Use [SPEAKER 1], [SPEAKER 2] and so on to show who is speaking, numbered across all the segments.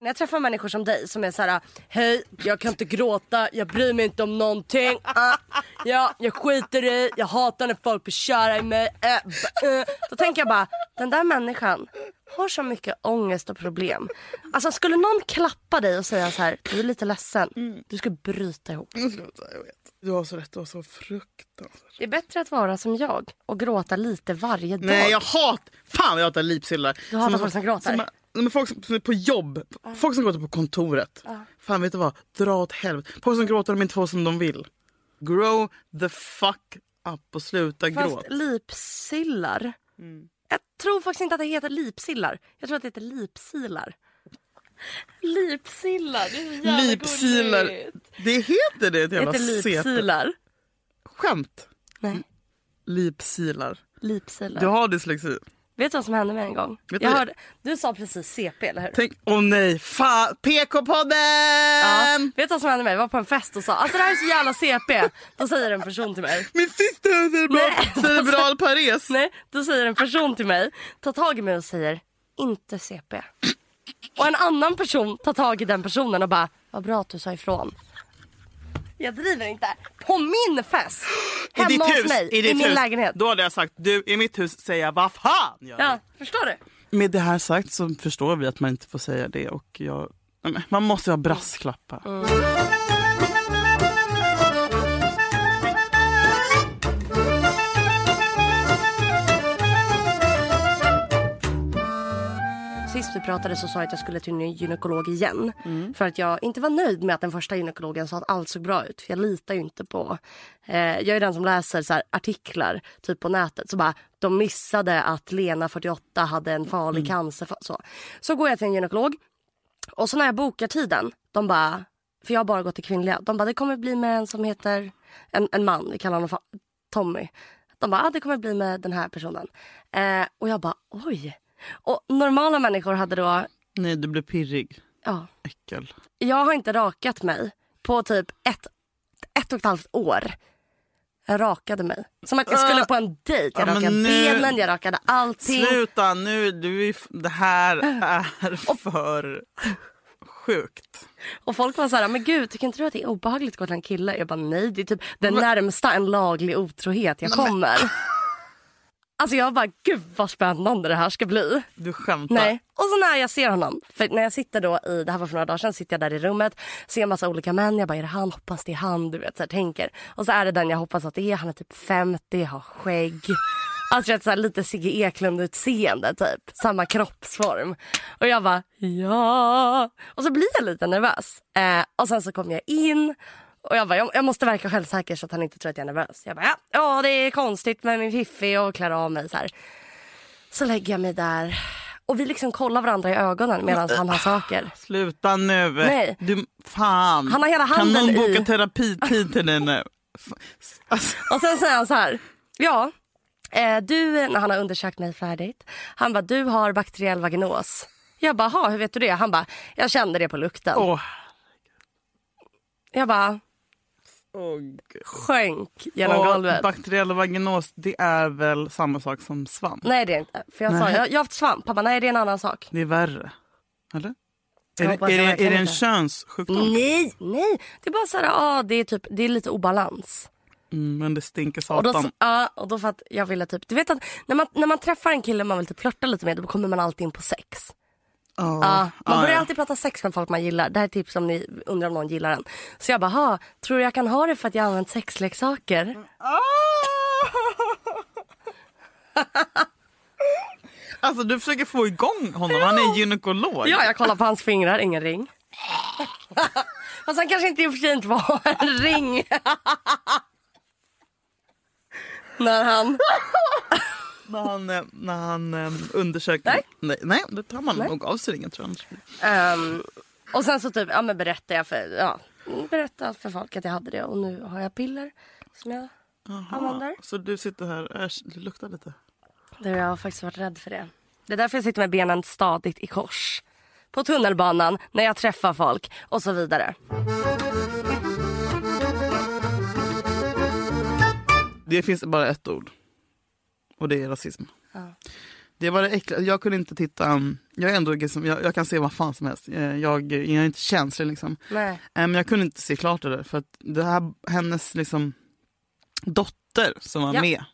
[SPEAKER 1] När jag träffar människor som dig som är så här: hej jag kan inte gråta, jag bryr mig inte om någonting. Ah, ja, jag skiter i, jag hatar när folk blir kära i mig. Eh, b- eh. Då tänker jag bara, den där människan har så mycket ångest och problem. Alltså skulle någon klappa dig och säga så här, du är lite ledsen, du skulle bryta ihop.
[SPEAKER 2] Jag skulle säga, jag vet. Du har så rätt, du har så fruktansvärt.
[SPEAKER 1] Det är bättre att vara som jag och gråta lite varje dag.
[SPEAKER 2] Nej jag hatar, fan jag hatar lipsyllar.
[SPEAKER 1] Du hatar folk som gråtar?
[SPEAKER 2] Som, men folk som, som är på jobb, folk som gråter på kontoret. Fan vet du vad, dra åt helvete. Folk som gråter de inte får som de vill. Grow the fuck up och sluta
[SPEAKER 1] Fast
[SPEAKER 2] gråta.
[SPEAKER 1] lipsillar. Jag tror faktiskt inte att det heter lipsillar. Jag tror att det heter lipsilar. Lipsillar, det är så jävla
[SPEAKER 2] Lipsilar.
[SPEAKER 1] gulligt.
[SPEAKER 2] Det heter det ett
[SPEAKER 1] Det
[SPEAKER 2] jävla
[SPEAKER 1] heter
[SPEAKER 2] sete.
[SPEAKER 1] lipsilar.
[SPEAKER 2] Skämt.
[SPEAKER 1] Nej,
[SPEAKER 2] Lipsilar.
[SPEAKER 1] lipsilar.
[SPEAKER 2] Du har dyslexi.
[SPEAKER 1] Vet du vad som hände mig en gång?
[SPEAKER 2] Vet
[SPEAKER 1] jag
[SPEAKER 2] du-
[SPEAKER 1] hörde, du sa precis CP, eller hur?
[SPEAKER 2] Tänk, åh nej, fan,
[SPEAKER 1] Ja.
[SPEAKER 2] PK-podden!
[SPEAKER 1] Vet du vad som hände mig? Jag var på en fest och sa alltså det här är så jävla CP. Då säger en person till mig.
[SPEAKER 2] Min syster säger
[SPEAKER 1] Nej.
[SPEAKER 2] bra- cerebral pares.
[SPEAKER 1] Nej, då säger en person till mig, tar tag i mig och säger inte CP. Och en annan person tar tag i den personen och bara, vad bra att du sa ifrån. Jag driver inte. På min fest!
[SPEAKER 2] I
[SPEAKER 1] Hemma
[SPEAKER 2] ditt
[SPEAKER 1] hos
[SPEAKER 2] hus,
[SPEAKER 1] mig, i,
[SPEAKER 2] ditt
[SPEAKER 1] min
[SPEAKER 2] hus.
[SPEAKER 1] lägenhet.
[SPEAKER 2] Då hade jag sagt, du i mitt hus säger jag vad fan gör
[SPEAKER 1] Ja, förstår du?
[SPEAKER 2] du?" Med det här sagt så förstår vi att man inte får säga det och jag, Nej, men man måste ha brasklappar.
[SPEAKER 1] Mm. Sist vi pratade så sa jag att jag skulle till en gynekolog igen. För att jag inte var nöjd med att den första gynekologen sa att allt såg bra ut. För jag litar ju inte på... Eh, jag är den som läser så här, artiklar typ på nätet. Så bara, de missade att Lena 48 hade en farlig cancer. Så. så går jag till en gynekolog. Och så när jag bokar tiden, de bara... För jag har bara gått till kvinnliga. De bara, det kommer bli med en som heter... En, en man, vi kallar honom fa- Tommy. De bara, ah, det kommer bli med den här personen. Eh, och jag bara, oj. Och normala människor hade då...
[SPEAKER 2] Nej du blir pirrig,
[SPEAKER 1] Ja,
[SPEAKER 2] äckel.
[SPEAKER 1] jag har inte rakat mig på typ ett, ett och ett halvt år. Jag rakade mig. Som att jag skulle på en dejt. Jag
[SPEAKER 2] Eh, Ja, men
[SPEAKER 1] rakade
[SPEAKER 2] nu-
[SPEAKER 1] benen, jag rakade allting.
[SPEAKER 2] Sluta nu, du, är f- det här är för sjukt.
[SPEAKER 1] Och folk var så här, men gud tycker inte du att det är obehagligt att gå till en kille? Jag bara nej, det är typ den närmsta en laglig otrohet jag kommer. Alltså jag bara, gud vad spännande det här ska bli.
[SPEAKER 2] Du skämtar.
[SPEAKER 1] Nej. Och så när jag ser honom, för när jag sitter då i, det här var för några dagar sedan, sitter jag där i rummet, ser massa olika män, jag bara är det han, hoppas det är han, du vet så här, tänker. Och så är det den jag hoppas att det är, han är typ 50, har skägg. Alltså jag så här, lite Sigge Eklund-utseende typ, samma kroppsform. Och jag bara ja. Och så blir jag lite nervös. Eh, och sen så kommer jag in och jag bara, jag, jag måste verka självsäker så att han inte tror att jag är nervös. Jag bara, ja, ja det är konstigt med min fiffi och klär av mig så här. Så lägger jag mig där och vi liksom kollar varandra i ögonen medan han har saker.
[SPEAKER 2] Sluta nu.
[SPEAKER 1] Nej.
[SPEAKER 2] Du, fan.
[SPEAKER 1] Han har hela
[SPEAKER 2] kan
[SPEAKER 1] handen
[SPEAKER 2] någon boka
[SPEAKER 1] i-
[SPEAKER 2] terapitid till dig nu? F- Alltså,
[SPEAKER 1] Och sen säger han så här, ja, eh, du, när han har undersökt mig färdigt, han bara, du har bakteriell vaginos. Jag bara, "Jaha, hur vet du det? Han bara, jag kände det på lukten.
[SPEAKER 2] åh,
[SPEAKER 1] Jag bara,
[SPEAKER 2] åh, gud.
[SPEAKER 1] sjönk genom
[SPEAKER 2] Och
[SPEAKER 1] golvet.
[SPEAKER 2] bakteriell vaginos det är väl samma sak som svamp?
[SPEAKER 1] nej det är inte, för jag sa,
[SPEAKER 2] Nej.
[SPEAKER 1] jag, jag har haft svamp. Han bara, nej det är en annan sak.
[SPEAKER 2] Det är värre. Eller?
[SPEAKER 1] Jag
[SPEAKER 2] Är,
[SPEAKER 1] hoppas
[SPEAKER 2] det, är,
[SPEAKER 1] jag
[SPEAKER 2] det, är
[SPEAKER 1] verkligen
[SPEAKER 2] det en
[SPEAKER 1] inte. Mm.
[SPEAKER 2] könssjukdom?
[SPEAKER 1] Nej, nej. Det är bara så här, ah, det är typ, det är lite obalans.
[SPEAKER 2] Mm, men det stinker
[SPEAKER 1] Och då,
[SPEAKER 2] satan.
[SPEAKER 1] ja, och då för att jag ville typ, du vet att när man, när man träffar en kille man vill typ flörta lite med då kommer man alltid in på sex.
[SPEAKER 2] Ja.
[SPEAKER 1] Ja, man
[SPEAKER 2] Ja,
[SPEAKER 1] börjar
[SPEAKER 2] ja.
[SPEAKER 1] alltid prata sex med folk man gillar. Det här är tips om ni undrar om någon gillar den. Så jag bara, "Ha, tror du jag kan ha det för att jag har använt sexleksaker?
[SPEAKER 2] Ah! Alltså du försöker få igång honom, han är gynekolog.
[SPEAKER 1] Ja, jag kollar på hans fingrar, ingen ring. Fast han kanske inte i och för sig inte var en ring. När han...
[SPEAKER 2] När han, eh, när han eh, undersöker.
[SPEAKER 1] Nej.
[SPEAKER 2] Nej, nej, då tar man nog av sig ringen tror jag.
[SPEAKER 1] ehm, och sen så typ, ja men berättade jag för, ja, berättade för folk att jag hade det och nu har jag piller som jag använder.
[SPEAKER 2] Så du sitter här, äsch, det luktar lite.
[SPEAKER 1] Du, jag har faktiskt varit rädd för det. Det är därför jag sitter med benen stadigt i kors. På tunnelbanan, när jag träffar folk och så vidare.
[SPEAKER 2] Det finns bara ett ord. Och det är rasism. Det var det äckliga. Jag kunde inte titta. um, Jag är ändå liksom, jag, jag kan se vad fan som helst. Eh, Jag, jag är inte känslig liksom.
[SPEAKER 1] Nej.
[SPEAKER 2] Eh, Men jag kunde inte se klart det där för att det här, hennes liksom, dotter som var
[SPEAKER 1] Ja.
[SPEAKER 2] med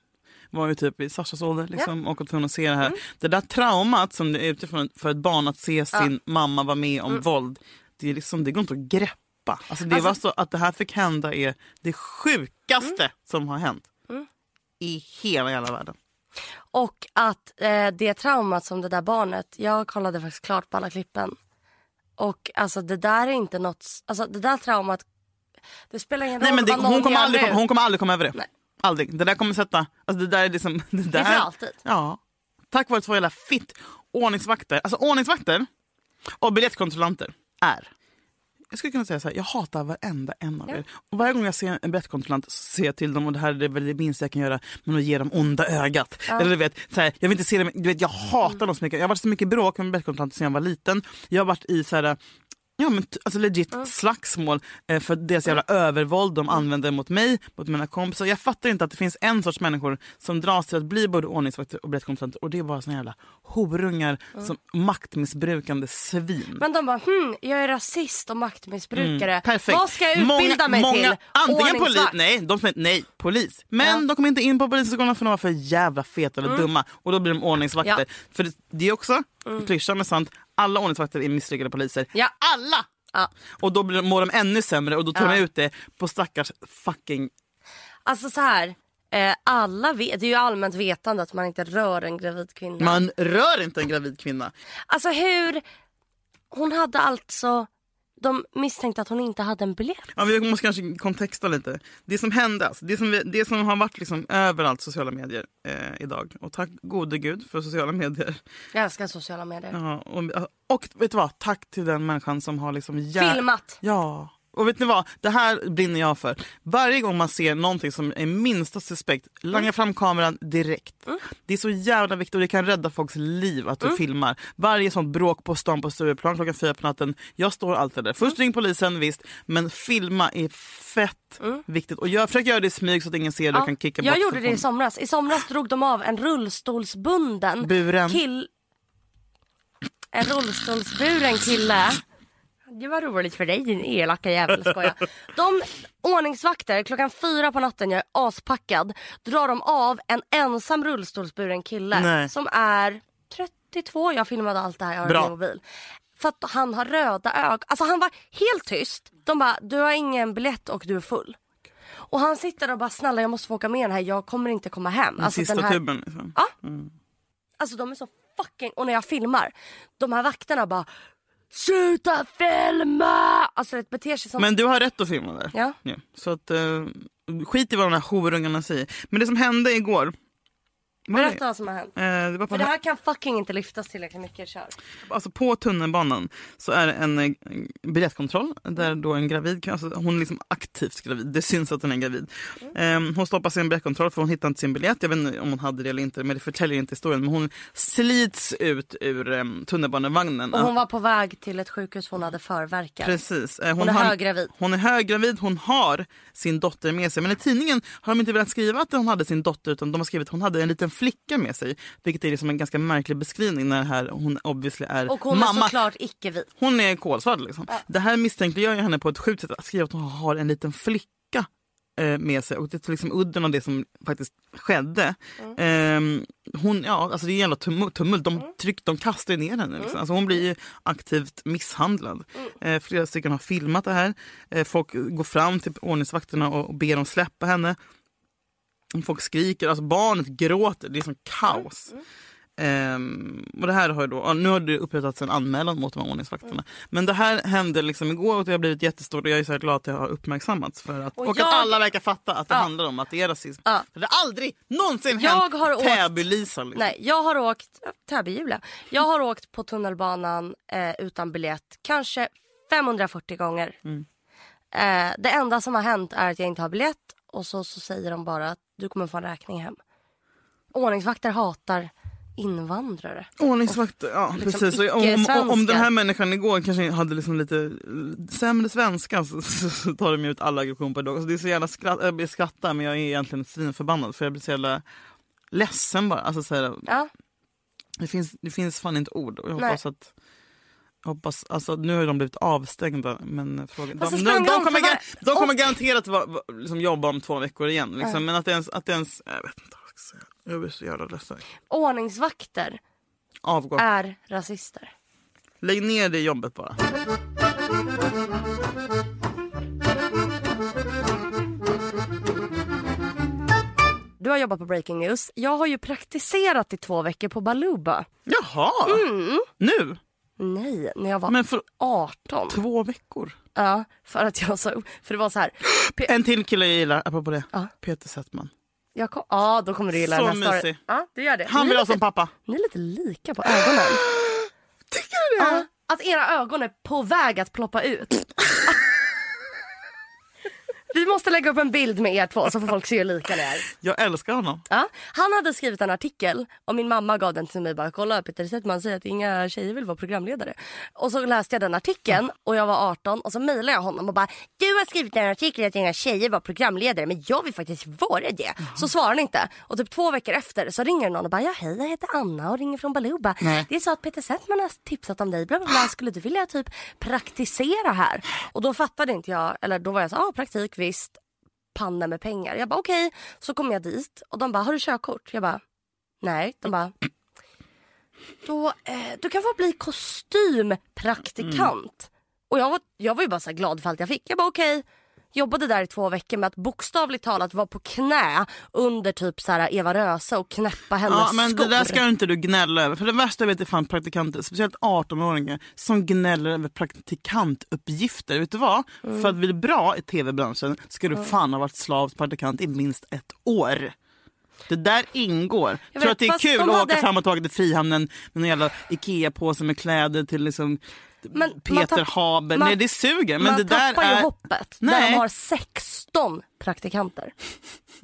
[SPEAKER 2] var ju typ i Sashas ålder liksom, och att hon ser det här.
[SPEAKER 1] Mm.
[SPEAKER 2] Det där traumat som det är utifrån för ett barn att se sin mamma vara med
[SPEAKER 1] Mm.
[SPEAKER 2] om våld, det, är liksom, det går inte att greppa. Alltså, det var så att det här fick hända är det sjukaste
[SPEAKER 1] Mm.
[SPEAKER 2] som har hänt i hela jävla världen.
[SPEAKER 1] Och att eh, det traumat som det där barnet... Jag kollade faktiskt klart på alla klippen. Och alltså det där är inte något... Alltså det där traumat... Det spelar ingen
[SPEAKER 2] Nej,
[SPEAKER 1] roll
[SPEAKER 2] men det,
[SPEAKER 1] vad någon
[SPEAKER 2] hon, kommer
[SPEAKER 1] gör
[SPEAKER 2] aldrig,
[SPEAKER 1] nu.
[SPEAKER 2] kom- hon kommer aldrig komma över det.
[SPEAKER 1] Nej.
[SPEAKER 2] Aldrig. Det där kommer sätta... Alltså det där är liksom... Det, där,
[SPEAKER 1] är för alltid.
[SPEAKER 2] Ja. Tack vare två jävla fitt ordningsvakter. Alltså ordningsvakter och biljettkontrollanter är... Jag skulle kunna säga så här, jag hatar varenda en av er. Och varje gång jag ser en biljettkontrollant så ser jag till dem och det här är det väl det minsta jag kan göra, men att ge dem onda ögat. Eller du vet, så här, jag vill inte se dem, du vet jag hatar dem så mycket. Jag har varit så mycket bråk med biljettkontrollanter sedan jag var liten. Jag har varit i så här, Ja men t- alltså legit slagsmål eh, för deras jävla övervåld de använder mot mig, mot mina kompisar. Jag fattar inte att det finns en sorts människor som dras till att bli både ordningsvakter och biljettkontrollanter och det är bara såna jävla horungar som maktmissbrukande svin.
[SPEAKER 1] Men de bara, hm, jag är rasist och maktmissbrukare.
[SPEAKER 2] Mm, Perfekt.
[SPEAKER 1] Vad ska jag utbilda
[SPEAKER 2] många,
[SPEAKER 1] mig
[SPEAKER 2] många,
[SPEAKER 1] till?
[SPEAKER 2] Antingen polis,
[SPEAKER 1] Ordningsvakt.
[SPEAKER 2] nej, de som, nej, polis. Men
[SPEAKER 1] Ja. Mm.
[SPEAKER 2] de kommer inte in på polishögskolan för de var för jävla feta eller dumma. Och då blir de ordningsvakter.
[SPEAKER 1] Ja. Mm.
[SPEAKER 2] För det, det är också, klyschan men sant, alla ordningsvakter är misslyckade poliser.
[SPEAKER 1] Ja.
[SPEAKER 2] Alla!
[SPEAKER 1] Ja.
[SPEAKER 2] Och då blir, mår de ännu sämre och då tar de ut det på stackars fucking...
[SPEAKER 1] Alltså så här, eh, alla vet, det är ju allmänt vetande att man inte rör en gravid kvinna.
[SPEAKER 2] Man rör inte en gravid kvinna.
[SPEAKER 1] Alltså hur, hon hade alltså, de misstänkte att hon inte hade en biljett.
[SPEAKER 2] Ja, vi måste kanske kontexta lite. Det som hände, alltså, det, som vi, det som har varit liksom överallt sociala medier eh, idag. Och tack gode gud för sociala medier.
[SPEAKER 1] Jag älskar sociala medier.
[SPEAKER 2] Ja, och, och vet du vad? Tack till den människan som har liksom... jä-
[SPEAKER 1] Filmat.
[SPEAKER 2] Ja. Och vet ni vad? Det här brinner jag för. Varje gång man ser någonting som är minsta suspekt,
[SPEAKER 1] Mm.
[SPEAKER 2] langa fram kameran direkt. Det är så jävla viktigt och det kan rädda folks liv att du
[SPEAKER 1] Mm.
[SPEAKER 2] filmar. Varje sånt bråk på stan på Stureplan klockan fyra på natten. Jag står alltid där.
[SPEAKER 1] Mm.
[SPEAKER 2] Först ring polisen visst, men filma är fett viktigt. Och jag försöker göra det i smyg så att ingen ser det och kan kicka
[SPEAKER 1] Mm. jag
[SPEAKER 2] bort
[SPEAKER 1] gjorde det i somras. I somras drog de av en rullstolsbunden
[SPEAKER 2] Buren.
[SPEAKER 1] kill... En rullstolsburen kille. Det var roligt för dig din elaka jävel, skoja. De ordningsvakter klockan fyra på natten, jag är aspackad, drar de av en ensam rullstolsburen kille
[SPEAKER 2] Nej.
[SPEAKER 1] som är 32, jag filmade allt det här, jag har
[SPEAKER 2] Bra.
[SPEAKER 1] en mobil. För att han har röda ögon. Alltså han var helt tyst. De bara, du har ingen biljett och du är full. Och han sitter där och bara snälla jag måste få åka med den här, jag kommer inte komma hem. Alltså,
[SPEAKER 2] Sista
[SPEAKER 1] den här,
[SPEAKER 2] tuben. Liksom.
[SPEAKER 1] alltså de är så fucking, och när jag filmar, de här vakterna bara Sluta filma! Alltså det beter sig som...
[SPEAKER 2] Men du har rätt att filma där.
[SPEAKER 1] Ja.
[SPEAKER 2] Så att, eh, skit i vad de här horungarna säger. Men det som hände igår. var
[SPEAKER 1] Berätta vad som har hänt.
[SPEAKER 2] Det, eh, det var på,
[SPEAKER 1] För det här kan fucking inte lyftas tillräckligt mycket, kör.
[SPEAKER 2] alltså på tunnelbanan så är det en eh, biljettkontroll där då en gravid, kvinna- alltså hon är liksom aktivt gravid, det syns att hon är gravid. Eh, hon stoppar sin biljettkontroll för hon hittar inte sin biljett. Jag vet inte om hon hade det eller inte men det förtäljer inte historien. Men hon slits ut ur eh, tunnelbanevagnen.
[SPEAKER 1] Och hon var på väg till ett sjukhus för hon hade förvärkar.
[SPEAKER 2] Precis. Eh,
[SPEAKER 1] Hon är
[SPEAKER 2] har-
[SPEAKER 1] höggravid.
[SPEAKER 2] Hon är höggravid, hon har sin dotter med sig. Men i tidningen har de inte velat skriva att hon hade sin dotter utan de har skrivit att hon hade en liten flicka med sig. Vilket är liksom en ganska märklig beskrivning när det här, hon obviously är
[SPEAKER 1] Och hon
[SPEAKER 2] mamma.
[SPEAKER 1] är såklart icke-vit.
[SPEAKER 2] Typ, Hon är kolsvart liksom. Det här misstänkliggör ju henne på ett sjukt sätt att skriva att hon har en liten flicka eh, med sig och det är liksom udden av det som faktiskt skedde. Ehm, hon, ja, alltså det är en jävla tumu- tumult, de, tryck, de kastar ju ner henne. Liksom. Alltså hon blir ju aktivt misshandlad. Eh, flera stycken har filmat det här. Eh, folk går fram till ordningsvakterna och, och ber dem släppa henne. Folk skriker, alltså barnet gråter, det är som kaos.
[SPEAKER 1] Mm,
[SPEAKER 2] Ehm, och det här har ju då, ja, nu har det upprättats en anmälan mot de här ordningsvakterna.
[SPEAKER 1] Mm.
[SPEAKER 2] Men det här hände liksom igår och det har blivit jättestort och jag är så här glad att det har uppmärksammats. För att, och
[SPEAKER 1] jag-
[SPEAKER 2] att alla verkar fatta att det handlar om att det är rasism. För det har aldrig någonsin
[SPEAKER 1] Jag
[SPEAKER 2] hänt
[SPEAKER 1] har åkt-
[SPEAKER 2] Täby-Lisa. Liksom.
[SPEAKER 1] Nej, jag har åkt, Täby-Julia, jag har åkt på tunnelbanan eh, utan biljett kanske 540 gånger. Eh, det enda som har hänt är att jag inte har biljett och så, så säger de bara att du kommer få en räkning hem. Ordningsvakter hatar invandrare.
[SPEAKER 2] Ordningsvakter, ja
[SPEAKER 1] Liksom
[SPEAKER 2] precis. Och om, om, om
[SPEAKER 1] icke-svenskar.
[SPEAKER 2] den här människan igår kanske hade liksom lite sämre svenska så, så, så tar de ju ut all aggression på dag. Alltså det är så jävla skratt, jag blir skrattar men jag är egentligen svinförbannad för jag blir så jävla ledsen bara. Alltså, så här,
[SPEAKER 1] Ja,
[SPEAKER 2] Det finns, det finns fan inte ord. Och jag
[SPEAKER 1] Nej.
[SPEAKER 2] hoppas att... Jag hoppas, alltså, nu har ju de blivit avstängda. Men frågan, de,
[SPEAKER 1] Fast
[SPEAKER 2] de,
[SPEAKER 1] så Alltså,
[SPEAKER 2] de,
[SPEAKER 1] sprang de
[SPEAKER 2] kommer,
[SPEAKER 1] för
[SPEAKER 2] gar,
[SPEAKER 1] var-
[SPEAKER 2] de kommer garanterat va, va, liksom jobba om två veckor igen. Liksom. Men att det ens, att det ens... Jag vet inte vad jag ska säga. Jag blir så jävla ledsen.
[SPEAKER 1] Ordningsvakter
[SPEAKER 2] Avgå.
[SPEAKER 1] är rasister.
[SPEAKER 2] Lägg ner det jobbet bara.
[SPEAKER 1] Du har jobbat på Breaking News. Jag har ju praktiserat i två veckor på Baluba.
[SPEAKER 2] Jaha!
[SPEAKER 1] Mm.
[SPEAKER 2] Nu?
[SPEAKER 1] Nej, när jag var
[SPEAKER 2] Men för
[SPEAKER 1] 18.
[SPEAKER 2] två veckor?
[SPEAKER 1] Ja, för att jag sa För det var så här. Pe-
[SPEAKER 2] En till kille jag gillar, apropå det.
[SPEAKER 1] Ja.
[SPEAKER 2] Peter Settman.
[SPEAKER 1] jag kom, ja, då kommer du gilla
[SPEAKER 2] Så
[SPEAKER 1] den här storyn.
[SPEAKER 2] mysig.
[SPEAKER 1] Ja, du gör det.
[SPEAKER 2] Han
[SPEAKER 1] ni,
[SPEAKER 2] vill alltså-
[SPEAKER 1] är lite,
[SPEAKER 2] ha som pappa.
[SPEAKER 1] ni är lite lika på ögonen.
[SPEAKER 2] Tycker du
[SPEAKER 1] Ja, att era ögon är på väg att ploppa ut. Vi måste lägga upp en bild med er två så får folk se hur lika ni är.
[SPEAKER 2] Jag älskar honom.
[SPEAKER 1] Ja, han hade skrivit en artikel och min mamma gav den till mig. Bara, Kolla, Peter Settman säger att inga tjejer vill vara programledare. Och så läste jag den artikeln och jag var 18 och så mejlade jag honom och bara du har skrivit en artikel att inga tjejer var programledare men jag vill faktiskt vara det. Så svarade han inte. Och typ två veckor efter så ringer någon och bara ja hej jag heter Anna och ringer från Baloo. Bara,
[SPEAKER 2] Nej.
[SPEAKER 1] Det är så att Peter Settman har tipsat om dig. Bla, bla, bla. Skulle du vilja typ praktisera här? Och då fattade inte jag, eller då var jag så ah, praktik visst panna med pengar. Jag bara okej, så kom jag dit och de bara har du körkort? Jag bara nej. De bara då, eh, du kan få bli kostympraktikant. Och jag var, jag var ju bara så här glad för allt jag fick. Jag bara okej. Jobbade där i två veckor med att bokstavligt talat vara på knä under typ så här Eva Röse och knäppa hennes
[SPEAKER 2] Ja, men
[SPEAKER 1] skor.
[SPEAKER 2] det där ska inte du gnälla över. För det värsta jag vet är fan praktikanter, speciellt 18-åringar, som gnäller över praktikantuppgifter. Vet du vad?
[SPEAKER 1] Mm.
[SPEAKER 2] För att bli bra i tv-branschen ska du fan ha varit slavs praktikant i minst ett år. Det där ingår.
[SPEAKER 1] Jag
[SPEAKER 2] Tror du
[SPEAKER 1] vet,
[SPEAKER 2] att det är
[SPEAKER 1] fast
[SPEAKER 2] kul
[SPEAKER 1] de
[SPEAKER 2] att åka
[SPEAKER 1] hade-
[SPEAKER 2] fram och tillbaka till Frihamnen med en jävla Ikea-påse med kläder till liksom
[SPEAKER 1] Men man
[SPEAKER 2] Peter
[SPEAKER 1] tapp-
[SPEAKER 2] Haber?
[SPEAKER 1] man-
[SPEAKER 2] Nej, det suger. Men
[SPEAKER 1] Man
[SPEAKER 2] det där
[SPEAKER 1] tappar
[SPEAKER 2] är...
[SPEAKER 1] ju hoppet när
[SPEAKER 2] Nej.
[SPEAKER 1] de har 16 praktikanter.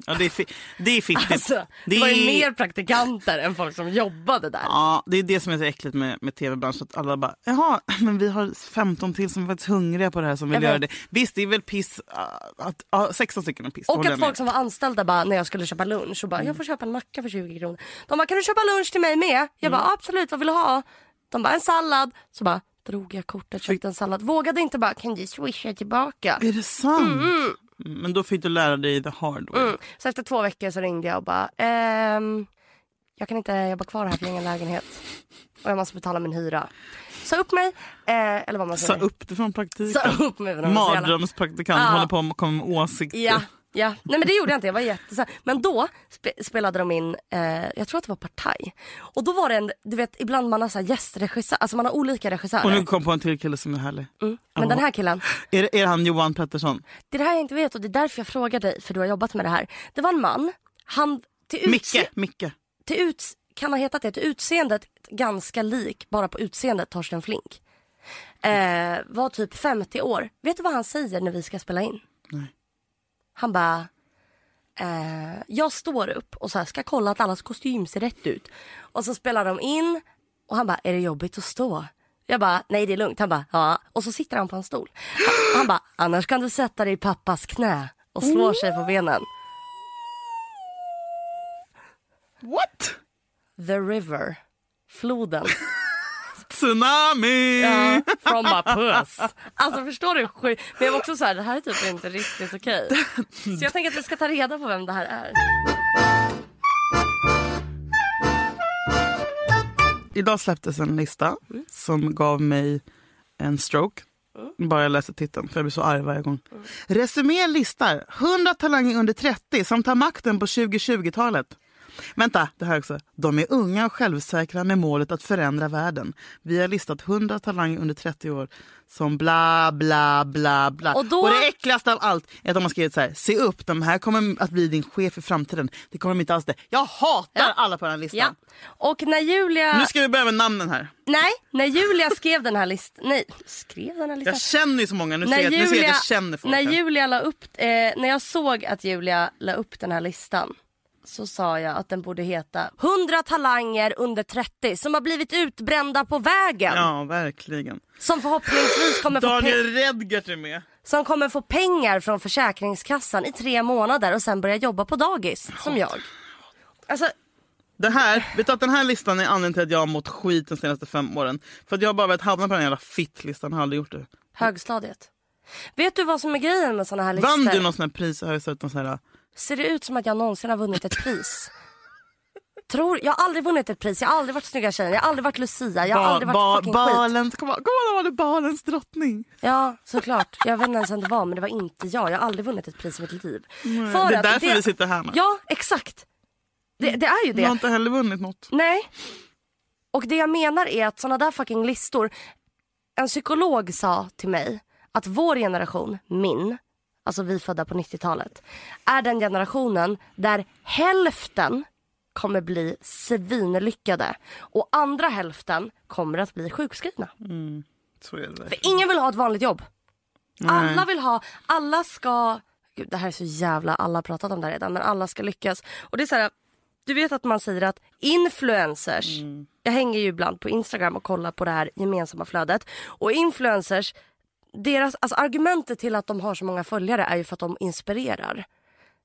[SPEAKER 2] Ja, det, är fi... det är fittigt.
[SPEAKER 1] Alltså, det,
[SPEAKER 2] Det
[SPEAKER 1] var ju
[SPEAKER 2] är-
[SPEAKER 1] mer praktikanter än folk som jobbade där.
[SPEAKER 2] Ja, det är det som är så äckligt med, med tv-branschen. Att alla bara, jaha, men vi har 15 till som är faktiskt hungriga på det här som vill
[SPEAKER 1] Jag
[SPEAKER 2] göra
[SPEAKER 1] vet.
[SPEAKER 2] det. Visst, det är väl piss. ah, Att, ja, 16 stycken är Mm. piss.
[SPEAKER 1] Och
[SPEAKER 2] håller
[SPEAKER 1] att
[SPEAKER 2] jag
[SPEAKER 1] folk som var anställda bara när jag skulle köpa lunch och bara jag får köpa en macka för 20 kronor. De bara kan du köpa lunch till mig med? Jag
[SPEAKER 2] Mm.
[SPEAKER 1] bara absolut vad vill du ha? De bara en sallad. Så bara drog jag kortet köpte en sallad. Vågade inte bara kan du swisha tillbaka?
[SPEAKER 2] med. Är det sant? Mm, Men då fick du lära dig the hard way.
[SPEAKER 1] Mm. Så efter två veckor så ringde jag och bara ehm, jag kan inte jobba kvar här för jag har ingen lägenhet. Och jag måste betala min hyra. Sa upp mig. Eh, eller vad man
[SPEAKER 2] Sa
[SPEAKER 1] säger.
[SPEAKER 2] upp det från praktiken.
[SPEAKER 1] Sa upp mig. för de var så jävla-
[SPEAKER 2] Mardrömspraktikant
[SPEAKER 1] Ja.
[SPEAKER 2] håller på och kommer med åsikter.
[SPEAKER 1] Ja, ja. Nej men det gjorde jag inte. Jag var jättesär. Men då spe- spelade de in, eh, jag tror att det var Partaj. Och då var det en, du vet ibland man har så här gästregissör, alltså man har olika regissörer.
[SPEAKER 2] Och nu kom på en till kille som är härlig.
[SPEAKER 1] Men den här killen,
[SPEAKER 2] Är, det, är det han Johan Pettersson?
[SPEAKER 1] det är det här jag inte vet och det är därför jag frågar dig för du har jobbat med det här. Det var en man, han till,
[SPEAKER 2] Micke.
[SPEAKER 1] utse-
[SPEAKER 2] Micke.
[SPEAKER 1] till uts- kan ha hetat det, till utseendet ganska lik, bara på utseendet Torsten Flink. Eh, var typ 50 år. Vet du vad han säger när vi ska spela in?
[SPEAKER 2] Nej.
[SPEAKER 1] Han bara... Eh, jag står upp och så här, ska kolla att allas kostym ser rätt ut. Och så spelar de in och han bara, är det jobbigt att stå? Jag bara, nej det är lugnt. Han bara, ja. Och så sitter han på en stol. Han, han bara, annars kan du sätta dig i pappas knä och slå sig på benen.
[SPEAKER 2] What?
[SPEAKER 1] The river. Floden.
[SPEAKER 2] Tsunami!
[SPEAKER 1] Ja, From my puss. Alltså förstår du hur sjukt? Men jag var också så här, det här är typ inte riktigt okej. Så jag tänker att vi ska ta reda på vem det här är.
[SPEAKER 2] Idag släpptes en lista
[SPEAKER 1] Mm.
[SPEAKER 2] som gav mig en stroke.
[SPEAKER 1] Mm.
[SPEAKER 2] Bara jag läser titeln, för jag blir så arg varje gång. Resumé listar 100 talanger under 30 som tar makten på 2020-talet. Vänta, det här också. De är unga och självsäkra med målet att förändra världen. Vi har listat 100 talanger under 30 år som bla, bla, bla, bla.
[SPEAKER 1] Och då-
[SPEAKER 2] det äckligaste av allt är att de har skrivit så här. Se upp, de här kommer att bli din chef i framtiden. Det kommer de inte alls det. Jag hatar alla på den här listan.
[SPEAKER 1] Ja. Och när Julia...
[SPEAKER 2] Nu ska vi börja med namnen här.
[SPEAKER 1] Nej, när Julia skrev den här listan... Nej, skrev den här listan?
[SPEAKER 2] Jag känner ju så många. Nu ser
[SPEAKER 1] när
[SPEAKER 2] jag, nu ser jag att jag känner folk.
[SPEAKER 1] när
[SPEAKER 2] här.
[SPEAKER 1] Julia la upp... Eh, när jag såg att Julia la upp den här listan så sa jag att den borde heta 100 talanger under 30 som har blivit utbrända på vägen.
[SPEAKER 2] Ja, verkligen.
[SPEAKER 1] Som förhoppningsvis kommer få, pe-
[SPEAKER 2] Daniel Redgert är med.
[SPEAKER 1] som kommer få pengar från Försäkringskassan i tre månader och sen börja jobba på dagis som jag. Alltså,
[SPEAKER 2] Det här, vet du att den här listan är anledningen till att jag har mått skit de senaste fem åren. För att jag har bara velat hamna på den här jävla fittlistan, har aldrig gjort det.
[SPEAKER 1] Högstadiet. Vet du vad som är grejen med såna här listor?
[SPEAKER 2] Vann du någon sån här pris i högstadiet? någon sån här-
[SPEAKER 1] Ser det ut som att jag någonsin har vunnit ett pris? Tror, jag har aldrig vunnit ett pris, jag har aldrig varit snygga tjejen, jag har aldrig varit Lucia, jag har aldrig varit fucking skit.
[SPEAKER 2] balens, kom, kom ihåg, var det balens drottning.
[SPEAKER 1] Ja, såklart. Jag vet inte ens vem det var, men det var inte jag. Jag har aldrig vunnit ett pris i mitt liv. För
[SPEAKER 2] Det är
[SPEAKER 1] att
[SPEAKER 2] därför vi sitter här nu.
[SPEAKER 1] Ja, exakt. Det, det är ju
[SPEAKER 2] Jag har
[SPEAKER 1] det.
[SPEAKER 2] inte heller vunnit något.
[SPEAKER 1] Nej. Och det jag menar är att såna där fucking listor. En psykolog sa till mig att vår generation, min, alltså vi födda på 90-talet, är den generationen där hälften kommer bli svinlyckade och andra hälften kommer att bli sjukskrivna.
[SPEAKER 2] Så är det. verkligen.
[SPEAKER 1] För ingen vill ha ett vanligt jobb. Alla vill ha, alla ska... Gud, det här är så jävla... Alla har pratat om det här redan, men alla ska lyckas. Och det är så här, du vet att man säger att influencers... Jag hänger ju ibland på Instagram och kollar på det här gemensamma flödet. Och influencers, deras, alltså argumentet till att de har så många följare är ju för att de inspirerar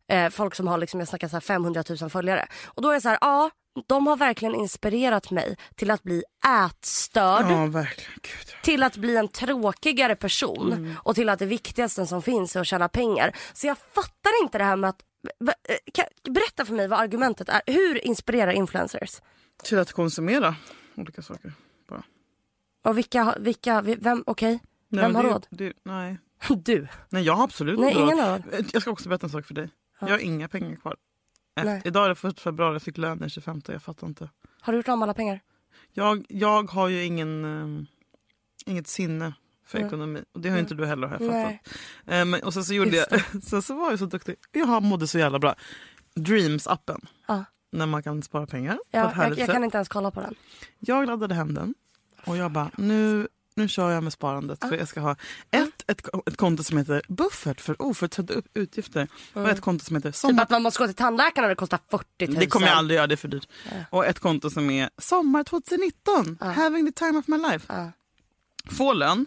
[SPEAKER 1] eh, folk som har liksom, jag snackar så här 500 000 följare. Och då är jag så här, ja, de har verkligen inspirerat mig till att bli ätstörd
[SPEAKER 2] Ja, verkligen. Gud.
[SPEAKER 1] till att bli en tråkigare person och till att det viktigaste som finns är att tjäna pengar. Så jag fattar inte det här med att... va- eh, kan- Berätta för mig vad argumentet är. Hur inspirerar influencers?
[SPEAKER 2] Till att konsumera olika saker. Bara.
[SPEAKER 1] Och vilka, har- vilka vi- vem, okej,
[SPEAKER 2] Nej,
[SPEAKER 1] vem
[SPEAKER 2] men
[SPEAKER 1] har
[SPEAKER 2] det-
[SPEAKER 1] råd?
[SPEAKER 2] det- nej.
[SPEAKER 1] Du.
[SPEAKER 2] nej, jag har absolut
[SPEAKER 1] Nej,
[SPEAKER 2] inte
[SPEAKER 1] ingen har råd.
[SPEAKER 2] Eh, Jag ska också berätta en sak för dig. Jag har inga pengar kvar. Efter-
[SPEAKER 1] Nej.
[SPEAKER 2] Idag är det första februari, jag fick lön den 25, jag fattar inte.
[SPEAKER 1] Har du gjort av med alla pengar?
[SPEAKER 2] Jag, jag har ju ingen, ehm, inget sinne för ekonomi. Och det har ju inte du heller har jag fattat.
[SPEAKER 1] Nej.
[SPEAKER 2] Ehm, och sen så, gjorde
[SPEAKER 1] Just
[SPEAKER 2] jag, sen så var jag så duktig. Jag mådde så jävla bra. Dreams-appen.
[SPEAKER 1] Ja.
[SPEAKER 2] När man kan spara pengar på
[SPEAKER 1] Ja,
[SPEAKER 2] ett
[SPEAKER 1] jag,
[SPEAKER 2] härligt
[SPEAKER 1] jag
[SPEAKER 2] sätt.
[SPEAKER 1] kan inte ens kolla på den.
[SPEAKER 2] Jag laddade hem den och jag bara, nu, nu kör jag med sparandet. För jag ska ha ett, ett, ett konto som heter buffert för oförutsedda upp- utgifter och ett konto som heter
[SPEAKER 1] Typ
[SPEAKER 2] sommar...
[SPEAKER 1] att man måste gå till tandläkaren och det kostar 40 000.
[SPEAKER 2] Det kommer jag aldrig göra, det är för dyrt. Och ett konto som är sommar 2019, having the time of my life.
[SPEAKER 1] Ja.
[SPEAKER 2] Får lön,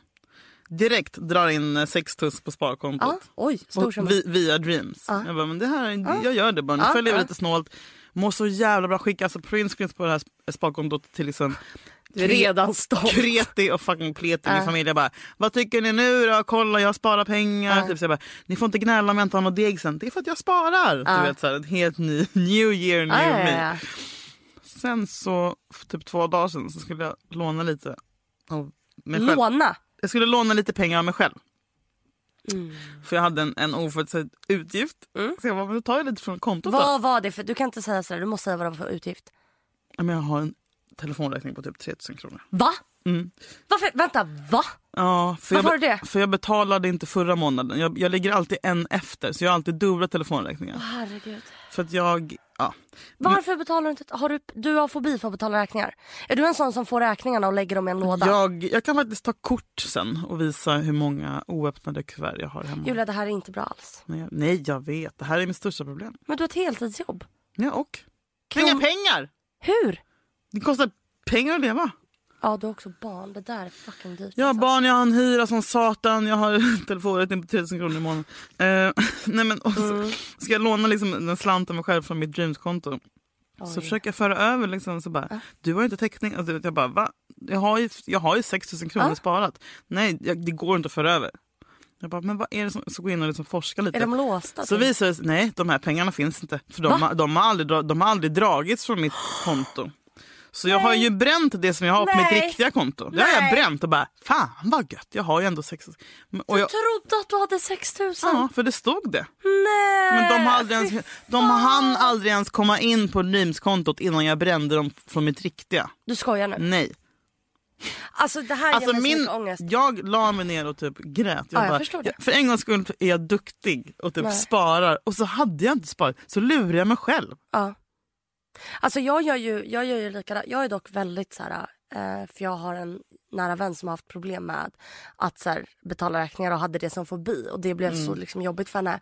[SPEAKER 2] direkt drar in eh, sex tuss på sparkontot.
[SPEAKER 1] Ja, oj, stor
[SPEAKER 2] Och
[SPEAKER 1] summa.
[SPEAKER 2] vi, via Dreams. Jag bara, men det här, är- jag gör det bara. Nu
[SPEAKER 1] Ja,
[SPEAKER 2] får jag leva
[SPEAKER 1] ja.
[SPEAKER 2] lite snålt. Mår så jävla bra. Skicka alltså printscreens på det här sp- sparkontot till liksom
[SPEAKER 1] Du är redan stolt.
[SPEAKER 2] kreti och fucking pleti i min familj. Jag bara, vad tycker ni nu då? Kolla jag sparar pengar. Typ så jag bara, ni får inte gnälla om jag inte har något deg sen. Det är för att jag sparar. Du vet så här, en helt ny, new year, new
[SPEAKER 1] Ja, ja,
[SPEAKER 2] me.
[SPEAKER 1] ja.
[SPEAKER 2] Sen så, för typ två dagar sen så skulle jag låna lite av mig själv.
[SPEAKER 1] Låna.
[SPEAKER 2] Jag skulle låna lite pengar av mig själv.
[SPEAKER 1] Mm.
[SPEAKER 2] För jag hade en, en oförutsedd utgift. Så jag bara, men då tar jag lite från kontot då.
[SPEAKER 1] Vad var det för... Du kan inte säga sådär, du måste säga vad det var för utgift.
[SPEAKER 2] Ja, Men jag har en telefonräkning på typ 3000 kronor.
[SPEAKER 1] Va?
[SPEAKER 2] Mm.
[SPEAKER 1] Varför? Vänta, va?
[SPEAKER 2] Ja, för jag,
[SPEAKER 1] Varför har du det?
[SPEAKER 2] För jag betalade inte förra månaden. Jag, jag ligger alltid en efter, så jag har alltid dubbla telefonräkningar.
[SPEAKER 1] Herregud.
[SPEAKER 2] För att jag... Ja.
[SPEAKER 1] Varför betalar du inte? Har du, du har fobi för att betala räkningar. Är du en sån som får räkningarna och lägger dem i en låda?
[SPEAKER 2] Jag, jag kan faktiskt ta kort sen och visa hur många oöppnade kuvert jag har hemma.
[SPEAKER 1] Julia, det här är inte bra alls.
[SPEAKER 2] Nej, jag- Nej, jag vet. Det här är mitt största problem.
[SPEAKER 1] Men du har ett heltidsjobb.
[SPEAKER 2] Ja, och?
[SPEAKER 1] Kron-
[SPEAKER 2] Inga pengar!
[SPEAKER 1] Hur?
[SPEAKER 2] Det kostar pengar att leva.
[SPEAKER 1] Ja, du har också barn. Det där är fucking dyrt.
[SPEAKER 2] Jag har
[SPEAKER 1] alltså.
[SPEAKER 2] barn, jag har en hyra som satan, jag har telefonräkning på 1000 kronor i månaden. Eh, nej men, och så, ska jag låna liksom den slanten mig själv från mitt Dreams-konto så försöker jag föra över. Liksom, så bara, Du har ju inte täckning. Alltså, jag bara, va? Jag har ju, jag har ju 6 000 kronor sparat. Nej, jag, det går inte att föra över. Jag bara, men vad är det som... Så går jag in och liksom forskar lite.
[SPEAKER 1] Är de låsta?
[SPEAKER 2] Så
[SPEAKER 1] typ?
[SPEAKER 2] visar det sig, nej de här pengarna finns inte. För de, har, de, har aldrig, dra- de har aldrig dragits från mitt konto. Så jag har ju bränt det som jag har på
[SPEAKER 1] Nej.
[SPEAKER 2] mitt riktiga konto. Det har jag
[SPEAKER 1] Nej.
[SPEAKER 2] bränt och bara, fan vad gött, jag har ju ändå 6 och jag,
[SPEAKER 1] Jag trodde att du hade 6 000.
[SPEAKER 2] Ja, för det stod det.
[SPEAKER 1] Nej!
[SPEAKER 2] Men de har aldrig
[SPEAKER 1] fy
[SPEAKER 2] ens, de hann aldrig ens komma in på Dreams-kontot innan jag brände dem från mitt riktiga.
[SPEAKER 1] Du skojar nu?
[SPEAKER 2] Nej.
[SPEAKER 1] Alltså det här
[SPEAKER 2] Alltså
[SPEAKER 1] ger mig så
[SPEAKER 2] min,
[SPEAKER 1] mycket ångest.
[SPEAKER 2] jag la mig ner och typ grät.
[SPEAKER 1] Ja, jag
[SPEAKER 2] bara,
[SPEAKER 1] förstår det.
[SPEAKER 2] För en gångs skull är jag duktig och typ
[SPEAKER 1] Nej.
[SPEAKER 2] sparar. Och så hade jag inte sparat, så lurade jag mig själv.
[SPEAKER 1] Ja. Alltså jag gör ju, jag gör ju likadant. Jag är dock väldigt så här, eh, för jag har en nära vän som har haft problem med att så här, betala räkningar och hade det som fobi. Och det blev så liksom, jobbigt för henne.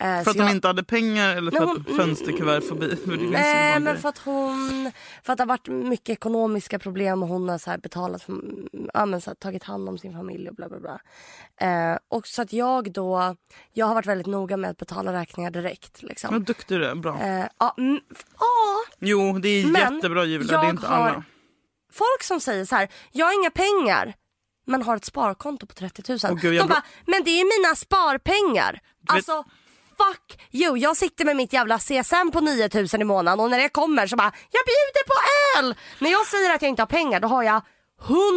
[SPEAKER 1] Eh,
[SPEAKER 2] Mm. För
[SPEAKER 1] så
[SPEAKER 2] att
[SPEAKER 1] jag-
[SPEAKER 2] de inte hade pengar eller för
[SPEAKER 1] Nej,
[SPEAKER 2] att
[SPEAKER 1] hon- Mm.
[SPEAKER 2] fönsterkuvert förbi? För det finns ju
[SPEAKER 1] Nej,
[SPEAKER 2] sån
[SPEAKER 1] men
[SPEAKER 2] grej.
[SPEAKER 1] för att hon... För att det har varit mycket ekonomiska problem och hon har så här betalat för, ja, men så här, tagit hand om sin familj och bla bla bla. Eh, och så att jag då... Jag har varit väldigt noga med att betala räkningar direkt. Liksom.
[SPEAKER 2] Vad duktig du är, bra.
[SPEAKER 1] Eh, ja, mm, f- ja,
[SPEAKER 2] Jo, det är
[SPEAKER 1] men
[SPEAKER 2] jättebra Julia, det är
[SPEAKER 1] jag
[SPEAKER 2] inte
[SPEAKER 1] har-
[SPEAKER 2] alla.
[SPEAKER 1] folk som säger så här, jag har inga pengar men har ett sparkonto på 30 000.
[SPEAKER 2] Åh, gud, jag
[SPEAKER 1] De
[SPEAKER 2] blir-
[SPEAKER 1] bara, men det är mina sparpengar.
[SPEAKER 2] vet-
[SPEAKER 1] Alltså fuck you. Jag sitter med mitt jävla CSN på 9 000 i månaden och när det kommer så bara, jag bjuder på öl. När jag säger att jag inte har pengar då har jag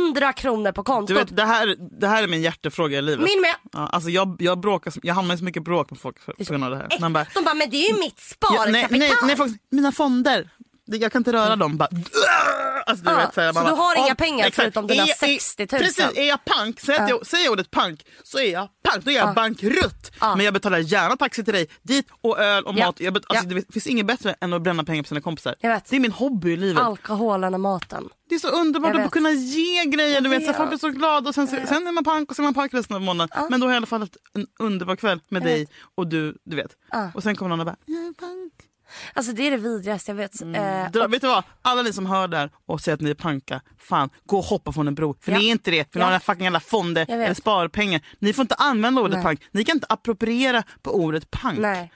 [SPEAKER 1] 100 kronor på
[SPEAKER 2] Du
[SPEAKER 1] kontot.
[SPEAKER 2] vet, det här, det här är min hjärtefråga i livet.
[SPEAKER 1] Min med.
[SPEAKER 2] Ja, alltså jag, jag, bråkar, så- jag hamnar i så mycket bråk med folk för, på grund av det här. Man bara,
[SPEAKER 1] De bara, men det är ju mitt
[SPEAKER 2] ja,
[SPEAKER 1] sparkapital.
[SPEAKER 2] nej, nej, nej, folk, mina fonder. Det- Jag kan inte röra dem. Bara, alltså, du
[SPEAKER 1] Ja,
[SPEAKER 2] vet, här,
[SPEAKER 1] Mm. Ah, så
[SPEAKER 2] man
[SPEAKER 1] du
[SPEAKER 2] bara,
[SPEAKER 1] har inga
[SPEAKER 2] om-
[SPEAKER 1] pengar
[SPEAKER 2] exakt.
[SPEAKER 1] förutom dina Ah.
[SPEAKER 2] Är jag- är-
[SPEAKER 1] 60 000?
[SPEAKER 2] Precis, är jag pank, säg att jag, säger jag ordet pank så är jag pank. Då
[SPEAKER 1] Ah.
[SPEAKER 2] är jag bankrutt. Men jag betalar gärna taxi till dig, dit och öl och
[SPEAKER 1] Ja.
[SPEAKER 2] mat. Jag bet, alltså,
[SPEAKER 1] Ja.
[SPEAKER 2] Det finns inget bättre än att bränna pengar på sina kompisar.
[SPEAKER 1] Jag vet.
[SPEAKER 2] Det är min hobby i livet.
[SPEAKER 1] Alkoholen och maten.
[SPEAKER 2] Det är så underbart
[SPEAKER 1] Jag
[SPEAKER 2] att
[SPEAKER 1] vet.
[SPEAKER 2] kunna ge grejer. Du vet, så
[SPEAKER 1] Ja.
[SPEAKER 2] folk blir så glada och sen, så, sen är man pank och sen är man pank resten av månaden. Men då har jag i alla fall haft en underbar kväll med dig och du. du vet.
[SPEAKER 1] Ah.
[SPEAKER 2] Och sen kommer någon och bara... "Jag är pank."
[SPEAKER 1] Alltså det är det vidrigaste jag vet. Eh,
[SPEAKER 2] Dra, vet du vad? Alla ni som hör där och säger att ni är panka, fan gå och hoppa från en bro. För
[SPEAKER 1] Ja.
[SPEAKER 2] ni är inte det. För
[SPEAKER 1] Ja.
[SPEAKER 2] ni har fucking jävla fonder
[SPEAKER 1] Jag vet.
[SPEAKER 2] eller sparpengar. Ni får inte använda ordet
[SPEAKER 1] Nej.
[SPEAKER 2] pank. Ni kan inte appropriera på ordet pank.
[SPEAKER 1] Nej.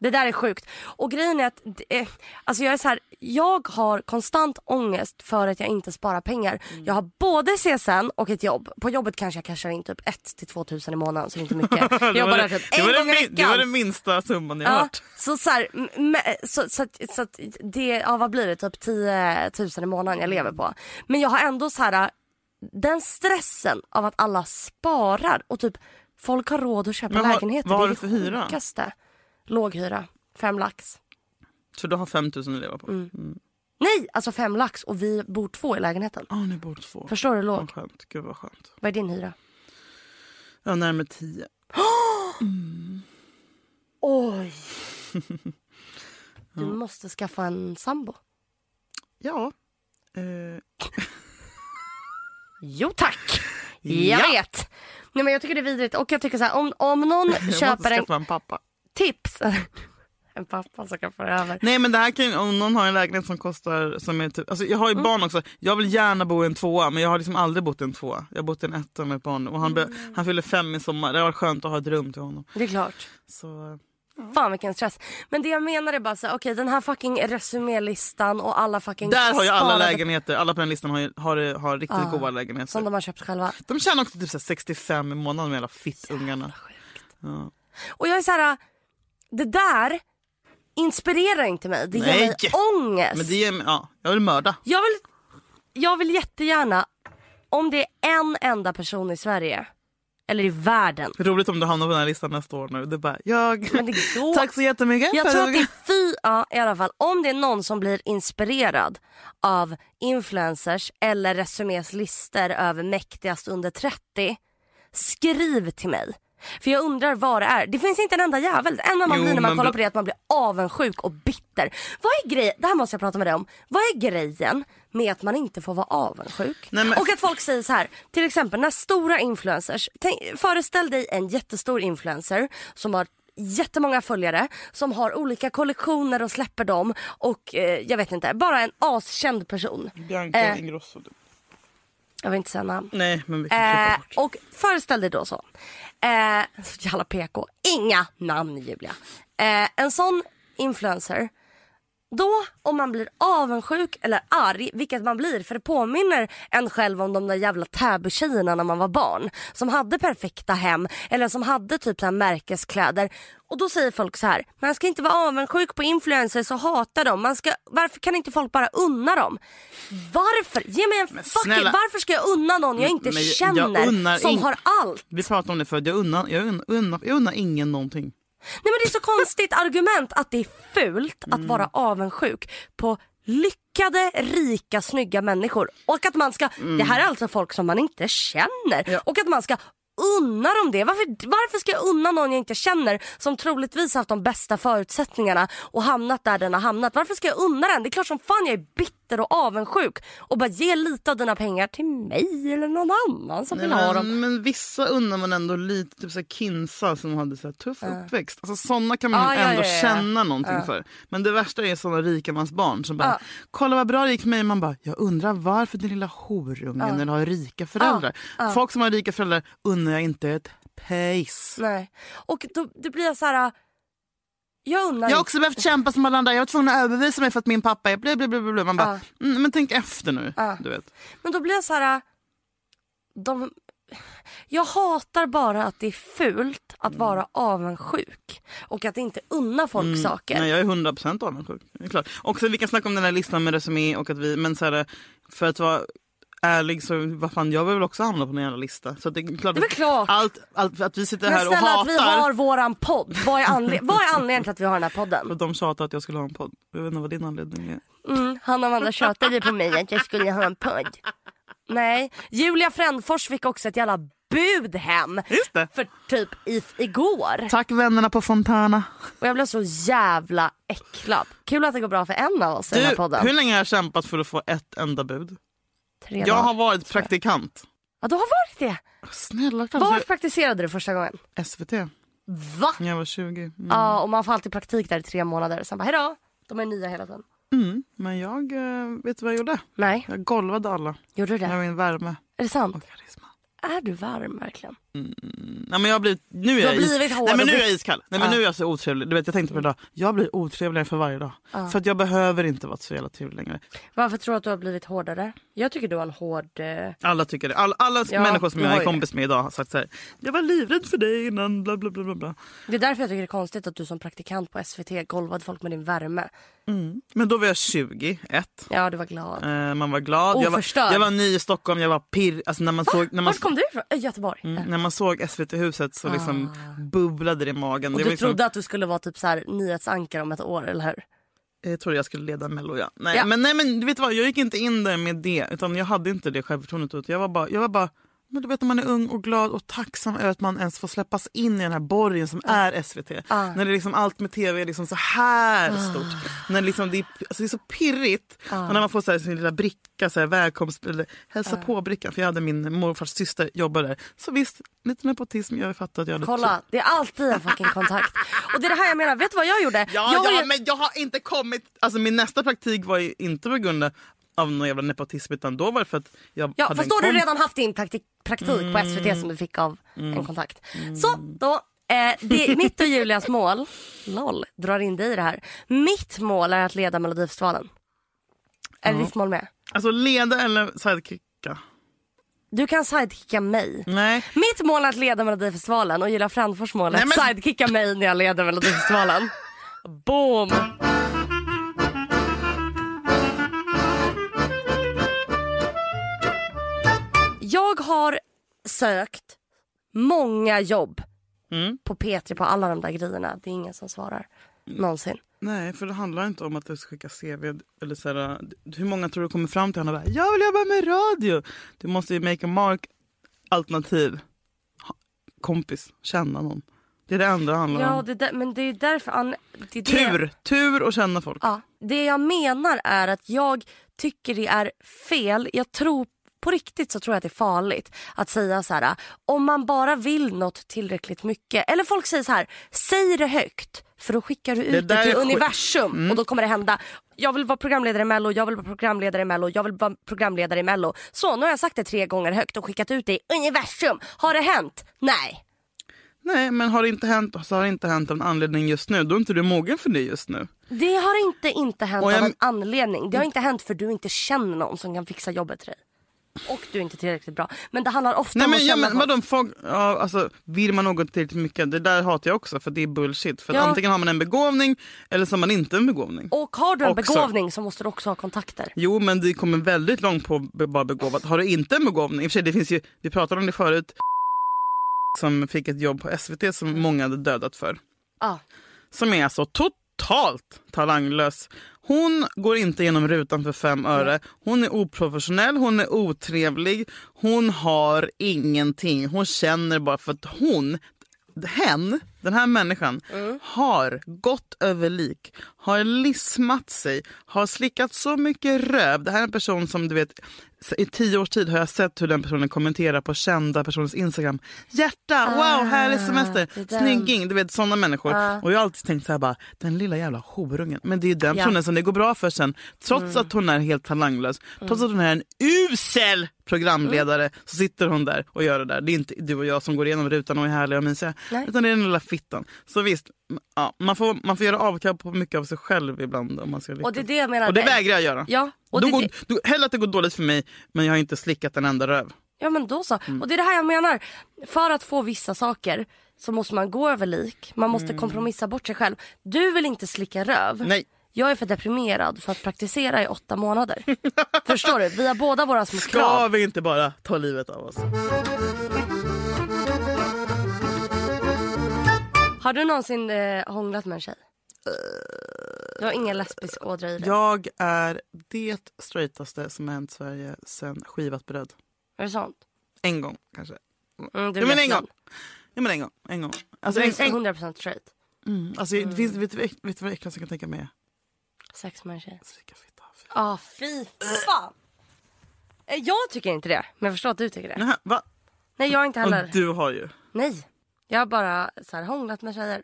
[SPEAKER 1] Det där är sjukt. Och grejen är att eh, alltså jag, är så här, jag har konstant ångest för att jag inte sparar pengar.
[SPEAKER 2] Mm.
[SPEAKER 1] Jag har både CSN och ett jobb. På jobbet kanske jag cashar in typ 1 till 2 000 i månaden så det är inte mycket. Jag
[SPEAKER 2] Det var
[SPEAKER 1] jobbar där
[SPEAKER 2] det-
[SPEAKER 1] typ
[SPEAKER 2] det var
[SPEAKER 1] en
[SPEAKER 2] det
[SPEAKER 1] gång i
[SPEAKER 2] min- Det var den
[SPEAKER 1] veckan.
[SPEAKER 2] minsta summan jag
[SPEAKER 1] Ja,
[SPEAKER 2] hört.
[SPEAKER 1] så så, här, m- men- så, så, att- så att det, ja, vad blir det, typ 10 000 i månaden jag lever på. Men jag har ändå så här, den stressen av att alla sparar och typ folk har råd att köpa
[SPEAKER 2] Men vad-
[SPEAKER 1] lägenheter.
[SPEAKER 2] vad har
[SPEAKER 1] det är
[SPEAKER 2] du för
[SPEAKER 1] det
[SPEAKER 2] hyra?
[SPEAKER 1] sjukaste. Låg hyra, fem lax.
[SPEAKER 2] Så du har 5 000 att leva på. Åh,
[SPEAKER 1] Mm. Nej, alltså fem lax och vi bor två i lägenheten.
[SPEAKER 2] ni bor två.
[SPEAKER 1] Förstår du hur låg?
[SPEAKER 2] Vad skönt. Gud vad skönt.
[SPEAKER 1] Vad är din hyra?
[SPEAKER 2] Ja, närmare 10.
[SPEAKER 1] Oj! Du måste skaffa en sambo.
[SPEAKER 2] Ja. Eh,
[SPEAKER 1] Jo tack!
[SPEAKER 2] Ja.
[SPEAKER 1] Jag vet! Nej men jag tycker det är vidrigt och jag tycker så här, om, om någon
[SPEAKER 2] jag måste
[SPEAKER 1] köper en
[SPEAKER 2] skaffa en pappa.
[SPEAKER 1] tips. en pappa som kan föra över.
[SPEAKER 2] Nej men det här kan ju, om någon har en lägenhet som kostar, som är typ, alltså jag har ju
[SPEAKER 1] Mm.
[SPEAKER 2] barn också, jag vill gärna bo i en tvåa men jag har liksom aldrig bott i en tvåa. Jag har bott i en etta med ett barn och han, be,
[SPEAKER 1] Mm.
[SPEAKER 2] han fyller fem i sommar, det var skönt att ha ett rum till honom.
[SPEAKER 1] Det är klart.
[SPEAKER 2] Så,
[SPEAKER 1] Fan vilken stress. Men det jag menar är bara så här, okej den här fucking resumélistan och alla fucking
[SPEAKER 2] där har ju alla
[SPEAKER 1] sparade-
[SPEAKER 2] lägenheter, alla på den listan har, ju- har, har riktigt goda lägenheter.
[SPEAKER 1] Som de har köpt själva.
[SPEAKER 2] De tjänar också typ så här 65 i månaden med alla fittungarna.
[SPEAKER 1] Och jag är så här, det där inspirerar inte mig. Det ger
[SPEAKER 2] Nej.
[SPEAKER 1] mig ångest.
[SPEAKER 2] Men det är, ja, jag vill mörda.
[SPEAKER 1] Jag, vill, jag vill jättegärna, om det är en enda person i Sverige, eller i världen.
[SPEAKER 2] Roligt om du hamnar på den här listan nästa år nu. Det är bara, jag...
[SPEAKER 1] Men det går.
[SPEAKER 2] Tack så jättemycket
[SPEAKER 1] jag
[SPEAKER 2] för
[SPEAKER 1] tror att det är fy, ja, i alla fall. Om det är någon som blir inspirerad av influencers eller Resumés listor över mäktigast under 30, skriv till mig. För jag undrar vad det är. Det finns inte en enda jävel. Det enda man
[SPEAKER 2] Jo,
[SPEAKER 1] blir när man
[SPEAKER 2] men
[SPEAKER 1] kollar
[SPEAKER 2] då-
[SPEAKER 1] på det är att man blir avundsjuk och bitter. Vad är grejen, det här måste jag prata med dig om. Vad är grejen med att man inte får vara avundsjuk?
[SPEAKER 2] Nej, men-
[SPEAKER 1] Och att folk säger så här, till exempel när stora influencers, tänk, föreställ dig en jättestor influencer som har jättemånga följare som har olika kollektioner och släpper dem och eh, jag vet inte, bara en askänd person.
[SPEAKER 2] Bianca
[SPEAKER 1] Eh.
[SPEAKER 2] Ingrosso.
[SPEAKER 1] Jag vill inte säga namn.
[SPEAKER 2] Nej, men vi kan klippa
[SPEAKER 1] Eh,
[SPEAKER 2] bort.
[SPEAKER 1] och föreställ dig då så. Eh, så jävla PK. Inga namn Julia. Eh, en sån influencer. Då om man blir avundsjuk eller arg, vilket man blir för det påminner en själv om de där jävla Täby-tjejerna när man var barn. Som hade perfekta hem eller som hade typ så här märkeskläder. Och då säger folk så här, man ska inte vara avundsjuk på influencers och hata dem. Man ska, varför kan inte folk bara unna dem? Varför? Ge mig en fucking,
[SPEAKER 2] snälla.
[SPEAKER 1] varför ska jag unna någon jag inte
[SPEAKER 2] Men jag- jag
[SPEAKER 1] känner
[SPEAKER 2] unnar
[SPEAKER 1] som
[SPEAKER 2] ing-
[SPEAKER 1] har allt.
[SPEAKER 2] Vi pratade om det förut, jag unnar, jag, unnar, jag, unnar, jag unnar ingen någonting.
[SPEAKER 1] Nej men det är så konstigt argument att det är fult
[SPEAKER 2] Mm.
[SPEAKER 1] att vara avundsjuk på lyckade, rika,
[SPEAKER 2] Mm.
[SPEAKER 1] snygga människor. Och att man ska, det här är alltså folk som man inte känner. Och att man ska unna dem det? Varför, varför ska jag unna någon jag inte känner som troligtvis haft de bästa förutsättningarna och hamnat där den har hamnat? Varför ska jag unna den? Det är klart som fan jag är bitter och avundsjuk och bara ge lite av dina pengar till mig eller någon annan som
[SPEAKER 2] Nej,
[SPEAKER 1] vill ha dem.
[SPEAKER 2] men, men vissa unnar man ändå lite, typ så här Kinsa som hade så här tuff uppväxt. Alltså sådana kan man
[SPEAKER 1] Ah, ja,
[SPEAKER 2] ändå
[SPEAKER 1] ja, ja.
[SPEAKER 2] känna någonting för. Men det värsta är sådana rikemansbarn som bara, kolla vad bra det gick för mig. Man bara, jag undrar varför den lilla horungen eller har rika föräldrar. Folk som har rika föräldrar unnar jag inte ett pejs.
[SPEAKER 1] Nej. Och då, det blir jag så här... äh, Jag unnar
[SPEAKER 2] Jag har
[SPEAKER 1] inte-
[SPEAKER 2] också behövt kämpa som alla andra. Jag var tvungen att överbevisa mig för att min pappa är bla bla bla. bla, bla. Man bara, mm, men tänk efter nu. Du vet.
[SPEAKER 1] Men då blir jag så här... äh, De, jag hatar bara att det är fult
[SPEAKER 2] Mm.
[SPEAKER 1] att vara avundsjuk och att inte unna folk saker.
[SPEAKER 2] Mm. Nej, jag är 100% avundsjuk. Det är klart. Också, vi kan snacka om den här listan med resumé och att vi, men så här, för att vara ärlig så vad fan, jag vill väl också hamna på någon jävla lista. Så att det är klart,
[SPEAKER 1] Det är väl
[SPEAKER 2] att-
[SPEAKER 1] klart.
[SPEAKER 2] Allt, allt, att vi sitter
[SPEAKER 1] Men
[SPEAKER 2] här och
[SPEAKER 1] snälla att vi har
[SPEAKER 2] hatar
[SPEAKER 1] våran podd. Vad är, anled- vad är anledningen till att vi har den här podden?
[SPEAKER 2] för att de tjatar att jag skulle ha en podd. Jag vet inte vad din anledning är.
[SPEAKER 1] Mm, han och Amanda tjatade på mig att jag skulle ha en podd. Nej, Julia Frändfors fick också ett jävla bud hem.
[SPEAKER 2] Just det.
[SPEAKER 1] För typ i, igår.
[SPEAKER 2] Tack vännerna på Fontana.
[SPEAKER 1] Och jag blev så jävla äcklad. Kul att det går bra för en av oss i
[SPEAKER 2] Du,
[SPEAKER 1] den här podden.
[SPEAKER 2] hur länge har jag kämpat för att få ett enda bud?
[SPEAKER 1] Tre
[SPEAKER 2] Jag
[SPEAKER 1] dagar.
[SPEAKER 2] har varit praktikant.
[SPEAKER 1] Ja, du har varit det.
[SPEAKER 2] Snälla, klart
[SPEAKER 1] Var
[SPEAKER 2] att
[SPEAKER 1] praktiserade du första gången?
[SPEAKER 2] jag- SVT.
[SPEAKER 1] Va?
[SPEAKER 2] När jag var 20. Mm.
[SPEAKER 1] Ja, och man får alltid praktik där i tre månader. Sen bara hejdå. De är nya hela tiden.
[SPEAKER 2] Mm. Men jag, eh, vet du vad jag gjorde?
[SPEAKER 1] Nej,
[SPEAKER 2] Jag golvade alla
[SPEAKER 1] gjorde du det?
[SPEAKER 2] med min värme
[SPEAKER 1] Är det sant?
[SPEAKER 2] och karisma.
[SPEAKER 1] Är du varm verkligen?
[SPEAKER 2] Nej, men jag har blivit, nu är
[SPEAKER 1] har
[SPEAKER 2] jag is-
[SPEAKER 1] blivit hård
[SPEAKER 2] Nej, men
[SPEAKER 1] och
[SPEAKER 2] nu är
[SPEAKER 1] bitter.
[SPEAKER 2] jag iskall. Nej, men
[SPEAKER 1] Ja.
[SPEAKER 2] Nu är jag så otrevlig. Du vet, jag tänkte på det idag. Jag blir otrevligare för varje dag. För att jag behöver inte vara så jävla trevlig längre.
[SPEAKER 1] Varför tror du att du har blivit hårdare? Jag tycker du har en hård... eh,
[SPEAKER 2] Alla tycker det. Alla, alla
[SPEAKER 1] Ja,
[SPEAKER 2] människor som
[SPEAKER 1] du
[SPEAKER 2] jag
[SPEAKER 1] har
[SPEAKER 2] är
[SPEAKER 1] ju
[SPEAKER 2] kompis med idag har sagt så här. Jag var livrädd för dig innan. Bla, bla, bla, bla, bla.
[SPEAKER 1] Det är därför jag tycker det är konstigt att du som praktikant på SVT golvade folk med din värme. Mm.
[SPEAKER 2] Men då var jag 20, ett.
[SPEAKER 1] Ja, du var glad.
[SPEAKER 2] Eh, man var glad. Jag var,
[SPEAKER 1] Oförstörd.
[SPEAKER 2] jag var ny i Stockholm. Jag var pirr. Alltså, när man såg, när man,
[SPEAKER 1] Var kom du ifrån? Eh, Göteborg.
[SPEAKER 2] Mm, när man såg SVT-huset så liksom bubblade det i
[SPEAKER 1] Ah.
[SPEAKER 2] magen.
[SPEAKER 1] Och du
[SPEAKER 2] det var liksom,
[SPEAKER 1] trodde att du skulle vara typ så här nyhetsankare om ett år, eller hur?
[SPEAKER 2] Jag trodde jag skulle leda Mello. Ja. Nej,
[SPEAKER 1] Ja.
[SPEAKER 2] Men, nej, men du vet vad, jag gick inte in där med det. Utan Jag hade inte det självförtroendet. Utan jag var bara, jag var bara men du vet när man är ung och glad och tacksam över att man ens får släppas in i den här borgen som är SVT. När det är liksom allt med tv är liksom så här
[SPEAKER 1] Ah.
[SPEAKER 2] stort. När liksom det, är, alltså det är så pirrigt. Och när man får så här sin lilla bricka, så här välkomst, eller hälsa
[SPEAKER 1] Ah.
[SPEAKER 2] på-brickan. För jag hade min morfars syster jobbade där. Så visst, lite nepotism. Jag fattar att jag hade
[SPEAKER 1] Kolla, det är alltid en fucking kontakt. Och det är det här jag menar. Vet du vad jag gjorde?
[SPEAKER 2] Ja,
[SPEAKER 1] jag var
[SPEAKER 2] ja
[SPEAKER 1] ju-
[SPEAKER 2] men jag har inte kommit... Alltså min nästa praktik var ju inte på grund av någon jävla nepotism utan då var det för att jag
[SPEAKER 1] Ja,
[SPEAKER 2] hade
[SPEAKER 1] fast
[SPEAKER 2] en
[SPEAKER 1] då har du
[SPEAKER 2] kompis-
[SPEAKER 1] redan haft din praktik, praktik på SVT som du fick av en kontakt. Så då, eh, det, är mitt och Julias mål, LOL, drar in dig i det här. Mitt mål är att leda Melodifestivalen. Är det ditt mål med?
[SPEAKER 2] Alltså leda eller sidekicka?
[SPEAKER 1] Du kan sidekicka mig.
[SPEAKER 2] Nej.
[SPEAKER 1] Mitt mål är att leda Melodifestivalen och Julia Frändfors mål är
[SPEAKER 2] Nej,
[SPEAKER 1] att
[SPEAKER 2] men-
[SPEAKER 1] sidekicka mig när jag leder Melodifestivalen. Boom! Jag har sökt många jobb
[SPEAKER 2] Mm.
[SPEAKER 1] på P3 på alla de där grejerna. Det är ingen som svarar. Någonsin.
[SPEAKER 2] Nej, för det handlar inte om att du ska skicka CV. Eller så här, hur många tror du kommer fram till henne och bara “jag vill jobba med radio”? Du måste ju make a mark, alternativ, ha- kompis, känna någon. Det är det enda det handlar
[SPEAKER 1] Ja,
[SPEAKER 2] om.
[SPEAKER 1] det där, men det är därför... An, det är det-
[SPEAKER 2] Mm. Tur! Tur och känna folk.
[SPEAKER 1] Ja, det jag menar är att jag tycker det är fel. Jag tror på riktigt så tror jag att det är farligt att säga så här om man bara vill något tillräckligt mycket. Eller folk säger så här, säg det högt för då skickar du ut det,
[SPEAKER 2] där
[SPEAKER 1] till
[SPEAKER 2] är skit. Mm.
[SPEAKER 1] universum och då kommer det hända. Jag vill vara programledare i mello, jag vill vara programledare i mello, jag vill vara programledare i mello. Så nu har jag sagt det tre gånger högt och skickat ut det i universum. Har det hänt? Nej.
[SPEAKER 2] Nej, men har det inte hänt så har det inte hänt av en anledning just nu. Då är inte du mogen för det just nu.
[SPEAKER 1] Det har inte inte hänt
[SPEAKER 2] Och jag- Mm.
[SPEAKER 1] av en anledning. Det har inte hänt för du inte känner någon som kan fixa jobbet till dig. Och du är inte tillräckligt bra. Men det handlar ofta
[SPEAKER 2] Nej
[SPEAKER 1] om
[SPEAKER 2] men,
[SPEAKER 1] att
[SPEAKER 2] ja,
[SPEAKER 1] känna
[SPEAKER 2] men vadå, folk, ja, alltså, vill man något tillräckligt mycket, det där hatar jag också för det är bullshit. För att
[SPEAKER 1] Ja.
[SPEAKER 2] antingen har man en begåvning eller så har man inte en begåvning.
[SPEAKER 1] Och har du en
[SPEAKER 2] Också.
[SPEAKER 1] begåvning så måste du också ha kontakter.
[SPEAKER 2] Jo men det kommer väldigt långt på att bara begåvat. Har du inte en begåvning, i och för sig, det finns ju, vi pratade om det förut, som fick ett jobb på SVT som många hade dödat för.
[SPEAKER 1] Ja.
[SPEAKER 2] Som är alltså totalt talanglös. Hon går inte genom rutan för fem öre. Hon är oprofessionell, hon är otrevlig, hon har ingenting. Hon känner bara för att hon, hen, den här människan, har gått över lik, har lismat sig, har slickat så mycket röv. Det här är en person som du vet, i tio års tid har jag sett hur den personen kommenterar på kända personers Instagram. Hjärta, wow, härlig semester,
[SPEAKER 1] det är den.
[SPEAKER 2] snygging, du vet sådana människor. Och jag har alltid tänkt så här bara, den lilla jävla horungen. Men det är ju den
[SPEAKER 1] Ja. Mm.
[SPEAKER 2] personen som det går bra för sen, trots att hon är helt talanglös, trots att hon är en usel programledare
[SPEAKER 1] Mm.
[SPEAKER 2] så sitter hon där och gör det där. Det är inte du och jag som går igenom rutan och är härliga och mysiga.
[SPEAKER 1] Nej.
[SPEAKER 2] Utan det är den lilla fittan. Så visst, m- ja, man, får, man får göra avkall på mycket av sig själv ibland. Om man ska lyckas.
[SPEAKER 1] Och det är det jag menar.
[SPEAKER 2] och det vägrar jag göra.
[SPEAKER 1] Ja, och
[SPEAKER 2] då
[SPEAKER 1] det,
[SPEAKER 2] går, då, hellre att det går dåligt för mig men jag har inte slickat en enda röv.
[SPEAKER 1] Ja men då så.
[SPEAKER 2] Mm.
[SPEAKER 1] Och det är det här jag menar. För att få vissa saker så måste man gå över lik. Man måste kompromissa bort sig själv. Du vill inte slicka röv.
[SPEAKER 2] Mm. Nej.
[SPEAKER 1] Jag är för deprimerad för att praktisera i åtta månader. Förstår du? Vi har båda våra små
[SPEAKER 2] Ska
[SPEAKER 1] krav.
[SPEAKER 2] vi inte bara ta livet av oss?
[SPEAKER 1] Har du någonsin eh, hånglat med en tjej? Du har ingen lesbisk ådra i dig?
[SPEAKER 2] Jag är det straightaste som har hänt Sverige sen skivat bröd.
[SPEAKER 1] Är det sant?
[SPEAKER 2] En gång kanske.
[SPEAKER 1] Mm, du
[SPEAKER 2] Ja, men
[SPEAKER 1] vet
[SPEAKER 2] en gång.
[SPEAKER 1] någon.
[SPEAKER 2] Ja, men en gång. En gång.
[SPEAKER 1] Du
[SPEAKER 2] Alltså, en,
[SPEAKER 1] är
[SPEAKER 2] en,
[SPEAKER 1] 100% straight.
[SPEAKER 2] mm, alltså, det finns, vet, du vad äck- vet du vad det äckligaste jag kan tänka mig är?
[SPEAKER 1] Sex med en tjej.
[SPEAKER 2] Slicka fitta. Fy.
[SPEAKER 1] Ja, ah, fy fan. Eh, Jag tycker inte det, men jag förstår att du tycker det.
[SPEAKER 2] Nähä, va?
[SPEAKER 1] Nej, jag har inte heller.
[SPEAKER 2] Och du har ju.
[SPEAKER 1] Nej. Jag har bara så här, hånglat med tjejer.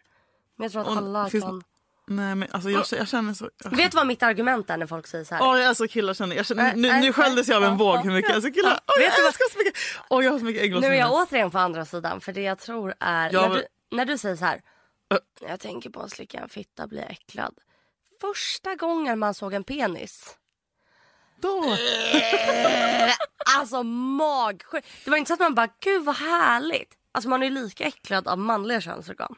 [SPEAKER 1] Men jag tror att
[SPEAKER 2] Och
[SPEAKER 1] alla
[SPEAKER 2] finns-
[SPEAKER 1] kan...
[SPEAKER 2] Nej men alltså jag, jag känner så... Jag,
[SPEAKER 1] Vet du vad mitt argument är när folk säger så här?
[SPEAKER 2] Åh, jag är så killar känner jag. känner, nu,
[SPEAKER 1] Äh,
[SPEAKER 2] nu
[SPEAKER 1] äh,
[SPEAKER 2] sköljdes jag av
[SPEAKER 1] äh,
[SPEAKER 2] en våg
[SPEAKER 1] äh,
[SPEAKER 2] hur mycket jag är så killar. Åh,
[SPEAKER 1] Vet du
[SPEAKER 2] jag
[SPEAKER 1] vad-
[SPEAKER 2] älskar så mycket. Åh, jag har så mycket ägglossning.
[SPEAKER 1] nu är jag återigen på andra sidan för det jag tror är...
[SPEAKER 2] Alltså, Ja,
[SPEAKER 1] när,
[SPEAKER 2] men-
[SPEAKER 1] du, när du säger så här.
[SPEAKER 2] Äh.
[SPEAKER 1] När jag tänker på att slicka en fitta blir jag äcklad. Första gången man såg en penis.
[SPEAKER 2] Då.
[SPEAKER 1] Alltså magsjuk. Det var inte så att man bara, gud vad härligt. Alltså man är ju lika äcklad av manliga könsorgan.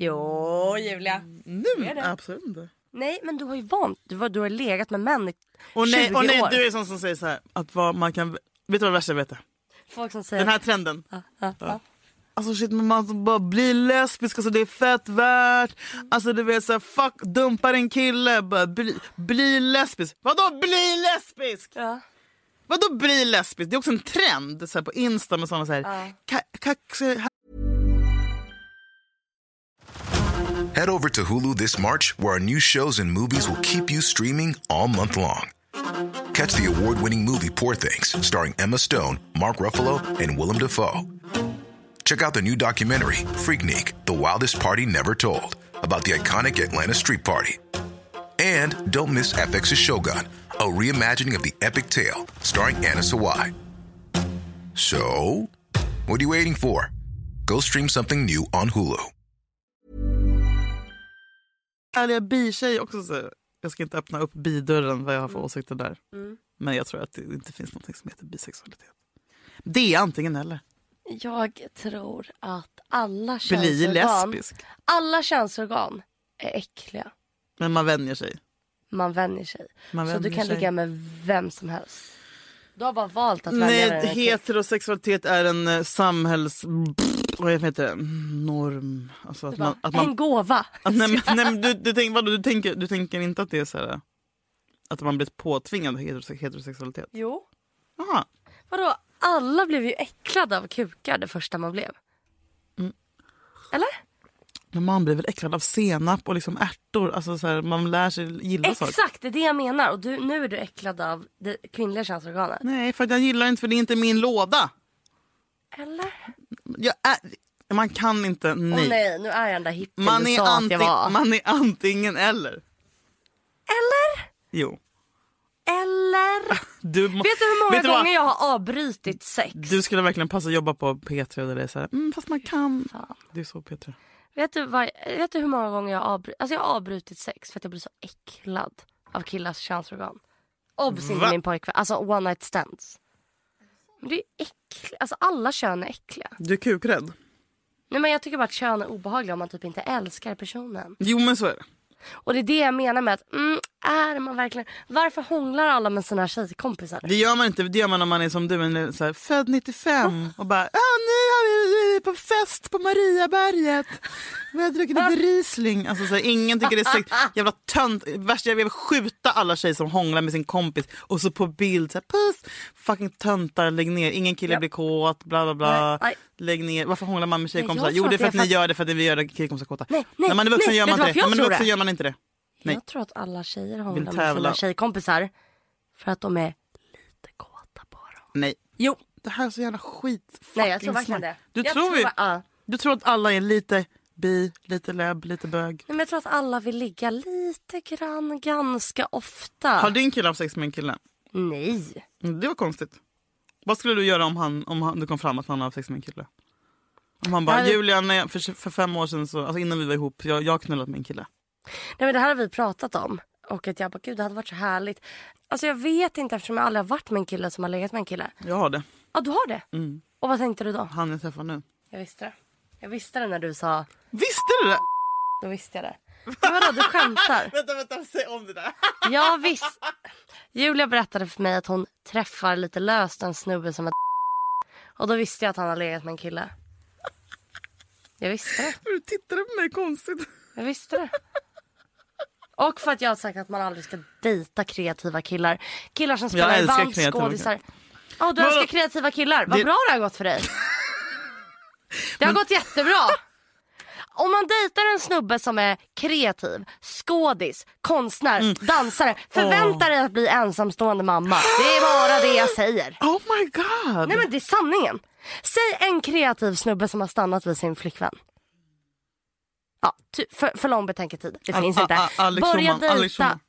[SPEAKER 1] Jo, Julia.
[SPEAKER 2] Nu?
[SPEAKER 1] det.
[SPEAKER 2] Absolut inte.
[SPEAKER 1] Nej, men du har ju vant Du, var- du har legat med män i
[SPEAKER 2] Och
[SPEAKER 1] 20
[SPEAKER 2] nej, och nej
[SPEAKER 1] år.
[SPEAKER 2] du är sån som säger så här att vad man kan... Vet du vad det värsta jag vet? är?
[SPEAKER 1] Folk som säger...
[SPEAKER 2] Den här trenden.
[SPEAKER 1] ja, ja.
[SPEAKER 2] Alltså shit men man som bara blir lesbisk, alltså det är fett värt. Alltså du vet såhär fuck, dumpar en kille, bara bli, bli lesbisk. Vadå bli lesbisk?
[SPEAKER 1] Ja.
[SPEAKER 2] Vadå bli lesbisk? Det är också en trend så här, på Insta med såna såhär
[SPEAKER 1] Ja.
[SPEAKER 2] ka, ka,
[SPEAKER 3] Head over to Hulu this March, where our new shows and movies will keep you streaming all month long. Catch the award winning movie Poor Things, starring Emma Stone, Mark Ruffalo, and Willem Dafoe. Check out the new documentary, Freaknik The Wildest Party Never Told, about the iconic Atlanta Street Party. And don't miss FX's Shogun, a reimagining of the epic tale, starring Anna Sawai. So, what are you waiting for? Go stream something new on Hulu.
[SPEAKER 2] härliga bitjej också. Så här. Jag ska inte öppna upp bidörren vad jag har för åsikter där. Men jag tror att det inte finns något som heter bisexualitet. Det är antingen eller.
[SPEAKER 1] Jag tror att alla
[SPEAKER 2] Bli
[SPEAKER 1] könsorgan,
[SPEAKER 2] lesbisk.
[SPEAKER 1] alla könsorgan är äckliga.
[SPEAKER 2] Men man vänjer sig.
[SPEAKER 1] Man vänjer sig.
[SPEAKER 2] Man
[SPEAKER 1] så
[SPEAKER 2] vänjer
[SPEAKER 1] du kan
[SPEAKER 2] sig.
[SPEAKER 1] ligga med vem som helst. Du har bara valt att vänja dig.
[SPEAKER 2] Nej,
[SPEAKER 1] till-
[SPEAKER 2] heterosexualitet är en eh, samhälls... pff, Vad heter det? Norm. Alltså att
[SPEAKER 1] Bara,
[SPEAKER 2] man, att man,
[SPEAKER 1] En gåva.
[SPEAKER 2] att, nej, men- nej, men du, du, tänk, vadå, du, tänker, du tänker inte att det är så här... eh, Att man blivit påtvingad heterose- heterosexualitet?
[SPEAKER 1] Jo.
[SPEAKER 2] Aha.
[SPEAKER 1] Vadå? Alla blev ju äcklade av kukar det första man blev.
[SPEAKER 2] Mm.
[SPEAKER 1] Eller?
[SPEAKER 2] Men man blir väl äcklad av senap och liksom ärtor. Alltså så här, man lär sig gilla saker.
[SPEAKER 1] Exakt, det är det jag menar. Och du, nu är du äcklad av det kvinnliga könsorganet.
[SPEAKER 2] Nej, för att jag gillar inte för det är inte min låda.
[SPEAKER 1] Eller?
[SPEAKER 2] Jag är, man kan inte,
[SPEAKER 1] Åh
[SPEAKER 2] nej.
[SPEAKER 1] nej. nu är jag den där hippien
[SPEAKER 2] man,
[SPEAKER 1] du
[SPEAKER 2] är
[SPEAKER 1] sa att jag
[SPEAKER 2] anting,
[SPEAKER 1] var.
[SPEAKER 2] man är antingen eller.
[SPEAKER 1] Eller?
[SPEAKER 2] Jo.
[SPEAKER 1] Eller?
[SPEAKER 2] Du, må-
[SPEAKER 1] Vet du hur många
[SPEAKER 2] vet du vad?
[SPEAKER 1] gånger jag har avbrutit sex?
[SPEAKER 2] Du skulle verkligen passa att jobba på P3 där det är så här, mm, fast man kan. Det är så P3.
[SPEAKER 1] Vet, du vad, vet du hur många gånger jag har avbrutit, alltså jag har avbrutit sex för att jag blir så äcklad av killars könsorgan? Obs inte
[SPEAKER 2] Va?
[SPEAKER 1] min pojkvän, alltså one night stands. Men det är ju äckligt, alltså alla kön är äckliga.
[SPEAKER 2] Du är kukrädd.
[SPEAKER 1] Nej men jag tycker bara att kön är obehagliga om man typ inte älskar personen.
[SPEAKER 2] Jo men så är det.
[SPEAKER 1] Och det är det jag menar med att, mm, är man verkligen, varför hånglar alla med sina tjejkompisar?
[SPEAKER 2] Det gör man inte, det gör man när man är som du, en så här, född 95 och bara ah, nu har vi på fest på Mariaberget. Vi har druckit lite Riesling. Alltså, så här, ingen tycker det är sex. Jävla tönt. Värst, jag vill skjuta alla tjejer som hånglar med sin kompis och så på bild. Så här, puss. Fucking töntar, lägg ner. Ingen kille blir kåt. Bla, bla, bla.
[SPEAKER 1] Nej, nej.
[SPEAKER 2] Lägg ner. Varför hånglar man med tjejkompisar?
[SPEAKER 1] jag
[SPEAKER 2] Jo,
[SPEAKER 1] tror
[SPEAKER 2] det är för att
[SPEAKER 1] att det
[SPEAKER 2] ni
[SPEAKER 1] är för
[SPEAKER 2] gör det för att vi gör det killkompisar kåta.
[SPEAKER 1] Nej, nej,
[SPEAKER 2] När man är vuxen
[SPEAKER 1] nej.
[SPEAKER 2] gör man
[SPEAKER 1] Vet du
[SPEAKER 2] inte
[SPEAKER 1] varför jag
[SPEAKER 2] det. När man är
[SPEAKER 1] tror
[SPEAKER 2] vuxen
[SPEAKER 1] det?
[SPEAKER 2] gör man inte det. Nej.
[SPEAKER 1] Jag tror att alla tjejer hånglar med
[SPEAKER 2] tävla.
[SPEAKER 1] sina tjejkompisar för att de är lite kåta på dem.
[SPEAKER 2] Nej.
[SPEAKER 1] Jo,
[SPEAKER 2] Det här är så jävla skit.
[SPEAKER 1] nej jag tror
[SPEAKER 2] fucking
[SPEAKER 1] verkligen
[SPEAKER 2] smart.
[SPEAKER 1] det.
[SPEAKER 2] Du
[SPEAKER 1] jag
[SPEAKER 2] tror, ju-
[SPEAKER 1] ja.
[SPEAKER 2] du tror att alla är lite bi, lite löb, lite bög.
[SPEAKER 1] Nej, men jag tror att alla vill ligga lite grann ganska ofta.
[SPEAKER 2] Har din kille haft sex med en kille?
[SPEAKER 1] Nej.
[SPEAKER 2] Mm, Det var konstigt. Vad skulle du göra om, han, om han, det kom fram att han har haft sex med en kille? Om han bara,
[SPEAKER 1] Nej, det-
[SPEAKER 2] Julia, nej, för, för fem år sedan, så, alltså innan vi var ihop, jag, jag har knullat med en kille.
[SPEAKER 1] Nej men det här har vi pratat om. Och att jag bara, gud det hade varit så härligt. Alltså jag vet inte eftersom jag aldrig har varit med en kille som har legat med en kille.
[SPEAKER 2] Jag har det.
[SPEAKER 1] Ja du har det? Och vad tänkte du då?
[SPEAKER 2] Han Mm. jag träffar nu.
[SPEAKER 1] Jag visste det. Jag visste det när du sa,
[SPEAKER 2] Visste du det?
[SPEAKER 1] då visste jag det. Men vadå du skämtar?
[SPEAKER 2] Vänta, vänta, säg om det där.
[SPEAKER 1] Jag visst. Julia berättade för mig att hon träffar lite löst en snubbe som är Och då visste jag att han har legat med en kille. Jag visste det.
[SPEAKER 2] Du tittade på mig konstigt.
[SPEAKER 1] Jag visste det. Och för att jag har sagt att man aldrig ska dejta kreativa killar. Killar som spelar i
[SPEAKER 2] älskar
[SPEAKER 1] band,
[SPEAKER 2] kreativa
[SPEAKER 1] skådisar. Ja, du älskar kreativa killar. Vad
[SPEAKER 2] Det-
[SPEAKER 1] bra det har gått för dig. Det har gått jättebra. Om man dejtar en snubbe som är kreativ, skådis, konstnär,
[SPEAKER 2] Mm.
[SPEAKER 1] dansare. Förvänta dig att bli ensamstående mamma. Det är bara det jag säger.
[SPEAKER 2] Oh my god!
[SPEAKER 1] Nej men det är sanningen. Säg en kreativ snubbe som har stannat vid sin flickvän. Ja, ty, för, för lång betänketid. Det finns
[SPEAKER 2] A-
[SPEAKER 1] inte.
[SPEAKER 2] A- A- Alex
[SPEAKER 1] Börja
[SPEAKER 2] Schulman,
[SPEAKER 1] dejta.
[SPEAKER 2] Alex Schulman.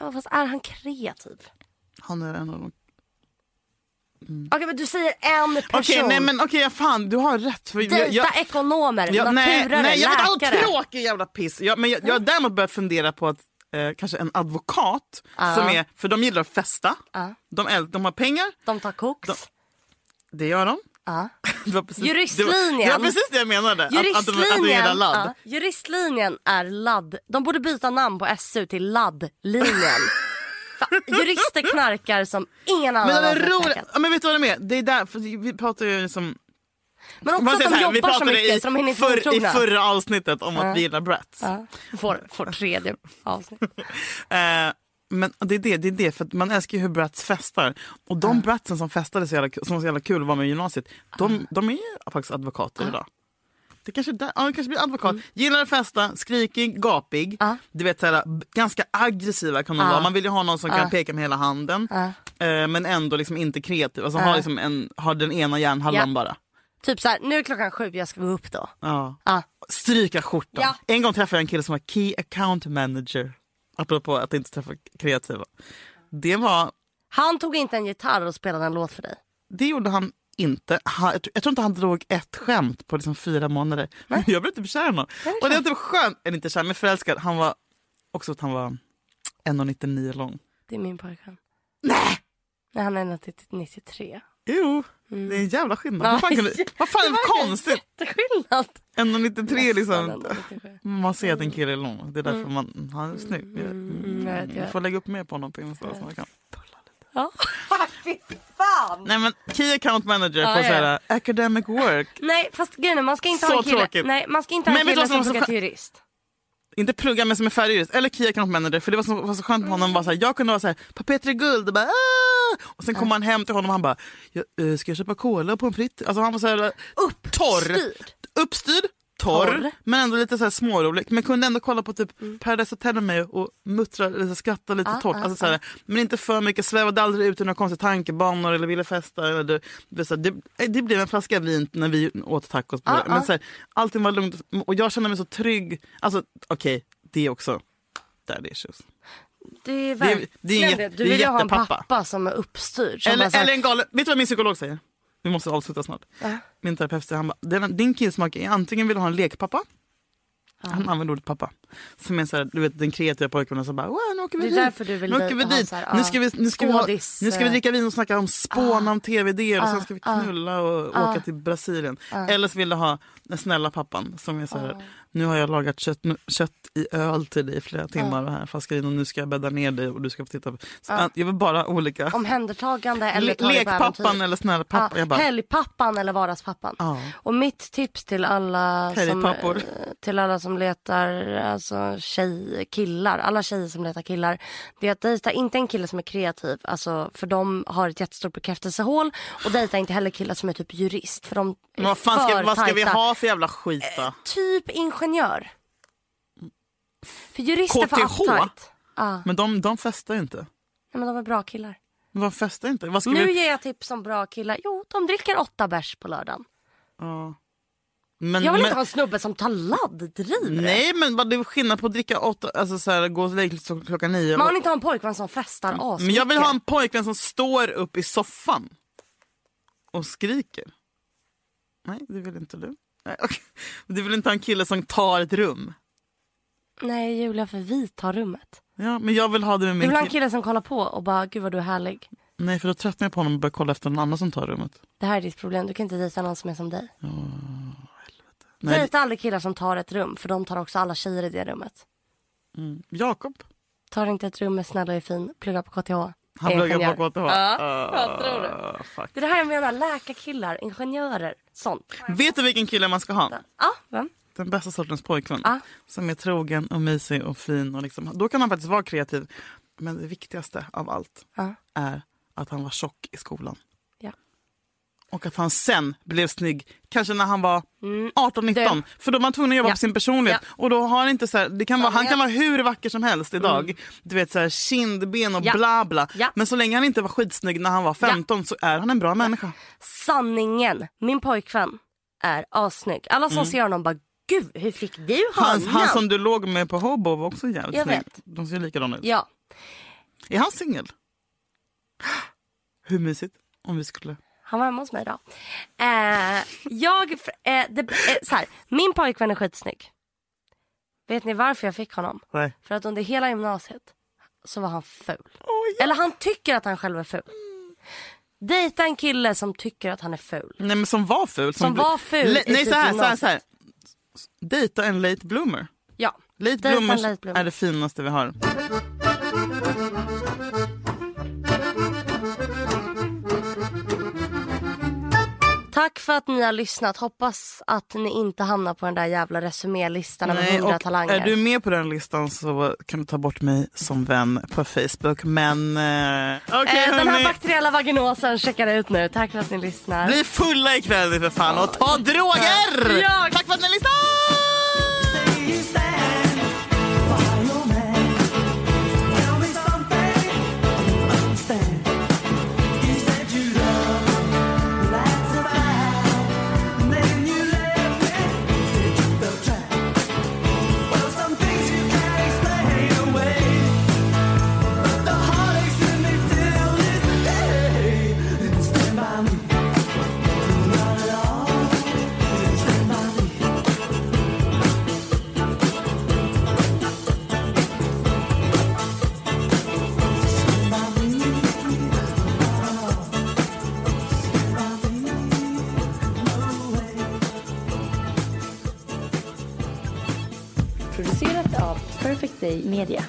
[SPEAKER 1] ja fast är han kreativ?
[SPEAKER 2] Han är en av de
[SPEAKER 1] Okej men du säger en person.
[SPEAKER 2] Okej, nej men okej, ja, fan du har rätt. För,
[SPEAKER 1] Dejta ekonomer,
[SPEAKER 2] jag, nej,
[SPEAKER 1] naturare,
[SPEAKER 2] nej, jag vet all
[SPEAKER 1] läkare.
[SPEAKER 2] tråkig jävla piss. Jag, men jag, jag har däremot börjat fundera på att eh, kanske en advokat, som är, för de gillar att festa, de, är, de har pengar,
[SPEAKER 1] De tar koks.
[SPEAKER 2] De- det gör de.
[SPEAKER 1] Ja.
[SPEAKER 2] Det var precis, Det var,
[SPEAKER 1] Juristlinjen.
[SPEAKER 2] det var precis det jag menade, att, att, de, att de
[SPEAKER 1] Juristlinjen,
[SPEAKER 2] gillar ladd.
[SPEAKER 1] ja, juristlinjen är ladd. De borde byta namn på SU till laddlinjen. Fan, Jurister knarkar som ingen annan
[SPEAKER 2] Men, det
[SPEAKER 1] har
[SPEAKER 2] är roligt.
[SPEAKER 1] knarkat.
[SPEAKER 2] Ja, men vet du vad de är? Det är där, för vi pratar ju liksom...
[SPEAKER 1] Men
[SPEAKER 2] man
[SPEAKER 1] också att de
[SPEAKER 2] säger så här, vi
[SPEAKER 1] jobbar så
[SPEAKER 2] pratade
[SPEAKER 1] mycket
[SPEAKER 2] i,
[SPEAKER 1] så de hinner inte bli
[SPEAKER 2] förr- i
[SPEAKER 1] otrogna.
[SPEAKER 2] förra avsnittet om att vi gillar brats.
[SPEAKER 1] Ja, får, får tredje avsnitt.
[SPEAKER 2] Eh, men det är det, det är det, för att man älskar ju hur brats festar. Och de bratsen som festade så jävla, som var så jävla kul att vara med i gymnasiet, de, de är ju faktiskt advokater idag. Det kanske, är där, ja, det kanske blir advokat. Gillar att festa, skrikig, gapig. Du vet, så här, b- ganska aggressiva kan de vara. Man vill ju ha någon som kan peka med hela handen. Eh, men ändå liksom inte kreativ. Alltså, ha, liksom en, ha den ena hjärnhalvan
[SPEAKER 1] Ja.
[SPEAKER 2] bara.
[SPEAKER 1] Typ så här, nu är klockan sju, jag ska gå upp då.
[SPEAKER 2] Ja.
[SPEAKER 1] Ja.
[SPEAKER 2] Stryka skjortan.
[SPEAKER 1] Ja.
[SPEAKER 2] En gång träffade jag en kille som var key account manager. Apropå att inte träffa kreativa. Det var
[SPEAKER 1] Han tog inte en gitarr och spelade en låt för dig.
[SPEAKER 2] Det gjorde han inte. Han, jag, tror, jag tror inte han drog ett skämt på liksom fyra månader. Jag blev typ kär i honom. Och det var typ skönt, eller inte kär men förälskad. Han var också att han var 1,99 lång.
[SPEAKER 1] Det är min pojkvän.
[SPEAKER 2] Nej!
[SPEAKER 1] Nej, han är 93.
[SPEAKER 2] Jo,
[SPEAKER 1] Mm.
[SPEAKER 2] det är en jävla skillnad.
[SPEAKER 1] Ja,
[SPEAKER 2] Vad fan, kan du, vad fan är det
[SPEAKER 1] verkar
[SPEAKER 2] konstigt?
[SPEAKER 1] Jätteskillnad.
[SPEAKER 2] 1,93 liksom.
[SPEAKER 1] Nästan 1,97.
[SPEAKER 2] Man ser att en kille är lång. Det är därför man, han är snygg. Jag,
[SPEAKER 1] Mm, jag vet, jag
[SPEAKER 2] jag
[SPEAKER 1] vet.
[SPEAKER 2] får lägga upp mer på honom på Insta. så man kan.
[SPEAKER 1] Ja. Ah, Fy fan!
[SPEAKER 2] Nej men Key account manager
[SPEAKER 1] Ja,
[SPEAKER 2] på
[SPEAKER 1] ja, ja.
[SPEAKER 2] så här, academic work.
[SPEAKER 1] Nej, fast grejen är, man ska inte
[SPEAKER 2] Så
[SPEAKER 1] ha en kille,
[SPEAKER 2] tråkigt.
[SPEAKER 1] Nej, man ska inte ha
[SPEAKER 2] Men
[SPEAKER 1] en
[SPEAKER 2] vet du
[SPEAKER 1] kille
[SPEAKER 2] vad som
[SPEAKER 1] som
[SPEAKER 2] var så
[SPEAKER 1] pluggar
[SPEAKER 2] skö-
[SPEAKER 1] till jurist.
[SPEAKER 2] inte plugga men som är färdigutbildad eller Kia Account Manager för det var så, var så skönt med
[SPEAKER 1] Mm.
[SPEAKER 2] honom. Bara så här, jag kunde vara så här, papeter är guld och bara "Ah!" Och sen kom han hem till honom och han bara, jag, eh, ska jag köpa cola och pommes frites? Alltså han var så här, torr.
[SPEAKER 1] Styrd.
[SPEAKER 2] Uppstyrd, torr,
[SPEAKER 1] Torr.
[SPEAKER 2] men ändå lite så här smårolig. Men kunde ändå kolla på typ Paradise Hotel med mig och muttra eller så här, skratta lite
[SPEAKER 1] Ah,
[SPEAKER 2] torrt. alltså, så här, Men inte för mycket, svävade aldrig ut i några konstiga tankebanor eller ville festa. Eller, det, det, så här, det, eh, det blev en flaska vin när vi åt tacos.
[SPEAKER 1] Ah,
[SPEAKER 2] På, men så här, allting var lugnt och jag kände mig så trygg. Alltså okej, det är också daddy issues.
[SPEAKER 1] Det är,
[SPEAKER 2] är-
[SPEAKER 1] verkligen
[SPEAKER 2] det är inget-
[SPEAKER 1] det.
[SPEAKER 2] det
[SPEAKER 1] Du
[SPEAKER 2] är
[SPEAKER 1] vill ju ha en
[SPEAKER 2] jättepappa.
[SPEAKER 1] pappa som är uppstyrd. Som bara så
[SPEAKER 2] Eller,
[SPEAKER 1] här,
[SPEAKER 2] eller en galen... Vet du vad min psykolog säger? Vi måste avsluta snart. Min terapeut säger, han bara, "Den- din killsmak är antingen vill du ha en lekpappa Han använder ordet pappa. Som är så här, du vet, den kreativa pojkvännen som bara, wow, nu åker vi
[SPEAKER 1] Det är
[SPEAKER 2] dit.
[SPEAKER 1] därför du vill
[SPEAKER 2] nu åker vi
[SPEAKER 1] dejta han
[SPEAKER 2] dit.
[SPEAKER 1] så här,
[SPEAKER 2] nu,
[SPEAKER 1] ah,
[SPEAKER 2] ska vi, nu, ska vi ha,
[SPEAKER 1] skådis,
[SPEAKER 2] nu ska vi
[SPEAKER 1] eh. Ah.
[SPEAKER 2] dricka vin och snacka om spåna om tv-idéer och sen ska vi knulla och åka till Brasilien.
[SPEAKER 1] Ah.
[SPEAKER 2] Eller så vill du ha den snälla pappan som är så här, nu har jag lagat kött, nu, kött i öl till dig i
[SPEAKER 1] Ah.
[SPEAKER 2] flera timmar och här Fascarin och nu ska jag bädda ner dig och du ska få titta på. Så, ah, Jag vill bara olika.
[SPEAKER 1] Omhändertagande Ah. eller
[SPEAKER 2] Le-
[SPEAKER 1] ta dig på
[SPEAKER 2] lekpappan
[SPEAKER 1] äventyr. Ah.
[SPEAKER 2] eller snälla pappa.
[SPEAKER 1] Ja,
[SPEAKER 2] jag bara, ah.
[SPEAKER 1] Helgpappan eller vardagspappan.
[SPEAKER 2] Ja.
[SPEAKER 1] Och mitt tips till alla, som,
[SPEAKER 2] Helgpappor.
[SPEAKER 1] eh, till alla som letar alltså, tjej, killar, alla tjejer som letar killar, det är att dejta inte en kille som är kreativ, alltså, för de har ett jättestort bekräftelsehål och dejta inte heller killar som är typ jurist för de är
[SPEAKER 2] men vad fan
[SPEAKER 1] för
[SPEAKER 2] ska, vad ska vi
[SPEAKER 1] tajta.
[SPEAKER 2] ha för jävla skit då?
[SPEAKER 1] Typ ingenjör. För jurister är för
[SPEAKER 2] KTH?
[SPEAKER 1] uptight. Ja, nej,
[SPEAKER 2] Men de, de festar ju inte.
[SPEAKER 1] men de är bra killar.
[SPEAKER 2] Men De festar inte. Vad ska
[SPEAKER 1] Nu
[SPEAKER 2] vi...
[SPEAKER 1] ger jag tips om bra killar. Jo, de dricker åtta bärs på lördagen.
[SPEAKER 2] Ja. Men,
[SPEAKER 1] Jag vill
[SPEAKER 2] men...
[SPEAKER 1] inte ha en snubbe som tar laddriv.
[SPEAKER 2] Nej men vad det är skillnad på att dricka åtta, alltså så här, gå och lägga sig klockan nio.
[SPEAKER 1] Man
[SPEAKER 2] Och...
[SPEAKER 1] vill inte ha en pojkvän som festar asmycket.
[SPEAKER 2] Men jag vill ha en pojkvän som står upp i soffan och skriker. Nej det vill inte du. Nej, okej. Du vill inte ha en kille som tar ett rum.
[SPEAKER 1] Nej Julia, för vi tar rummet.
[SPEAKER 2] Ja, men jag vill ha det med
[SPEAKER 1] Du
[SPEAKER 2] min
[SPEAKER 1] vill ha en
[SPEAKER 2] kille.
[SPEAKER 1] kille som kollar på och bara, gud vad du är härlig.
[SPEAKER 2] Nej för då tröttnar jag på honom och börjar kolla efter någon annan som tar rummet.
[SPEAKER 1] Det här är ditt problem, du kan inte dejta någon som är som dig.
[SPEAKER 2] Nej,
[SPEAKER 1] Dejta aldrig killar som tar ett rum, för de tar också alla tjejer i det rummet.
[SPEAKER 2] Jakob.
[SPEAKER 1] Tar inte ett rum med snäll och är fin, plugga på KTH.
[SPEAKER 2] Han
[SPEAKER 1] Är
[SPEAKER 2] pluggar
[SPEAKER 1] ingenjör.
[SPEAKER 2] på KTH.
[SPEAKER 1] Ja, vad tror du?
[SPEAKER 2] Ah, fuck.
[SPEAKER 1] Det är det här jag menar, läkarkillar, ingenjörer, sånt.
[SPEAKER 2] Vet du vilken kille man ska ha?
[SPEAKER 1] Ja, vem?
[SPEAKER 2] Den bästa sortens pojkvän.
[SPEAKER 1] Ja.
[SPEAKER 2] Som är trogen och mysig och fin. Och liksom, då kan han faktiskt vara kreativ. Men det viktigaste av allt
[SPEAKER 1] Ja.
[SPEAKER 2] är att han var tjock i skolan.
[SPEAKER 1] Ja.
[SPEAKER 2] Och att han sen blev snygg, kanske när han var 18-19.
[SPEAKER 1] Mm. det-
[SPEAKER 2] För då var man tvungen att jobba
[SPEAKER 1] Ja.
[SPEAKER 2] på sin personlighet. Och då har han inte så här, det kan vara, han kan vara hur vacker som helst idag. Du vet så här, kindben och
[SPEAKER 1] Mm. Ja.
[SPEAKER 2] bla bla.
[SPEAKER 1] Ja.
[SPEAKER 2] Men så länge han inte var skitsnygg när han var 15 så är han en bra människa.
[SPEAKER 1] Sanningen, min pojkvän är assnygg. Alla som ser honom bara, gud hur fick du
[SPEAKER 2] Mm. Han,
[SPEAKER 1] honom?
[SPEAKER 2] han som du låg med på Hobo var också jävligt
[SPEAKER 1] Jag
[SPEAKER 2] snygg.
[SPEAKER 1] vet.
[SPEAKER 2] De ser likadana ut.
[SPEAKER 1] Ja,
[SPEAKER 2] Är han singel? Hur mysigt om vi skulle...
[SPEAKER 1] Han var hemma hos mig idag. Eh, jag, eh, det, eh, så här, min pojkvän är skitsnygg. Vet ni varför jag fick honom?
[SPEAKER 2] Nej.
[SPEAKER 1] För att under hela gymnasiet så var han ful.
[SPEAKER 2] Oj.
[SPEAKER 1] Eller han tycker att han själv är ful. Dejta en kille som tycker att han är ful.
[SPEAKER 2] Nej men som var ful.
[SPEAKER 1] Som var ful
[SPEAKER 2] Le-
[SPEAKER 1] i
[SPEAKER 2] nej
[SPEAKER 1] typ
[SPEAKER 2] så här, så här,
[SPEAKER 1] gymnasiet.
[SPEAKER 2] så här. Dejta en late bloomer.
[SPEAKER 1] Ja.
[SPEAKER 2] Late
[SPEAKER 1] Dejta en
[SPEAKER 2] bloomers
[SPEAKER 1] late bloomer.
[SPEAKER 2] är det finaste vi har.
[SPEAKER 1] Tack för att ni har lyssnat. Hoppas att ni inte hamnar på den där jävla resumélistan över
[SPEAKER 2] Nej,
[SPEAKER 1] 100
[SPEAKER 2] och
[SPEAKER 1] talanger.
[SPEAKER 2] är du med på den listan så kan du ta bort mig som vän på Facebook. Men eh, okej
[SPEAKER 1] eh, den här
[SPEAKER 2] hörni.
[SPEAKER 1] bakteriella vaginosen checkar ut nu. Tack för att ni lyssnar.
[SPEAKER 2] Bli fulla ikväll för fan och ta droger!
[SPEAKER 1] Ja.
[SPEAKER 2] Tack för att ni lyssnade!
[SPEAKER 4] Stand by me. Not at all. Stand by me.
[SPEAKER 5] producerat av Perfect Day Media.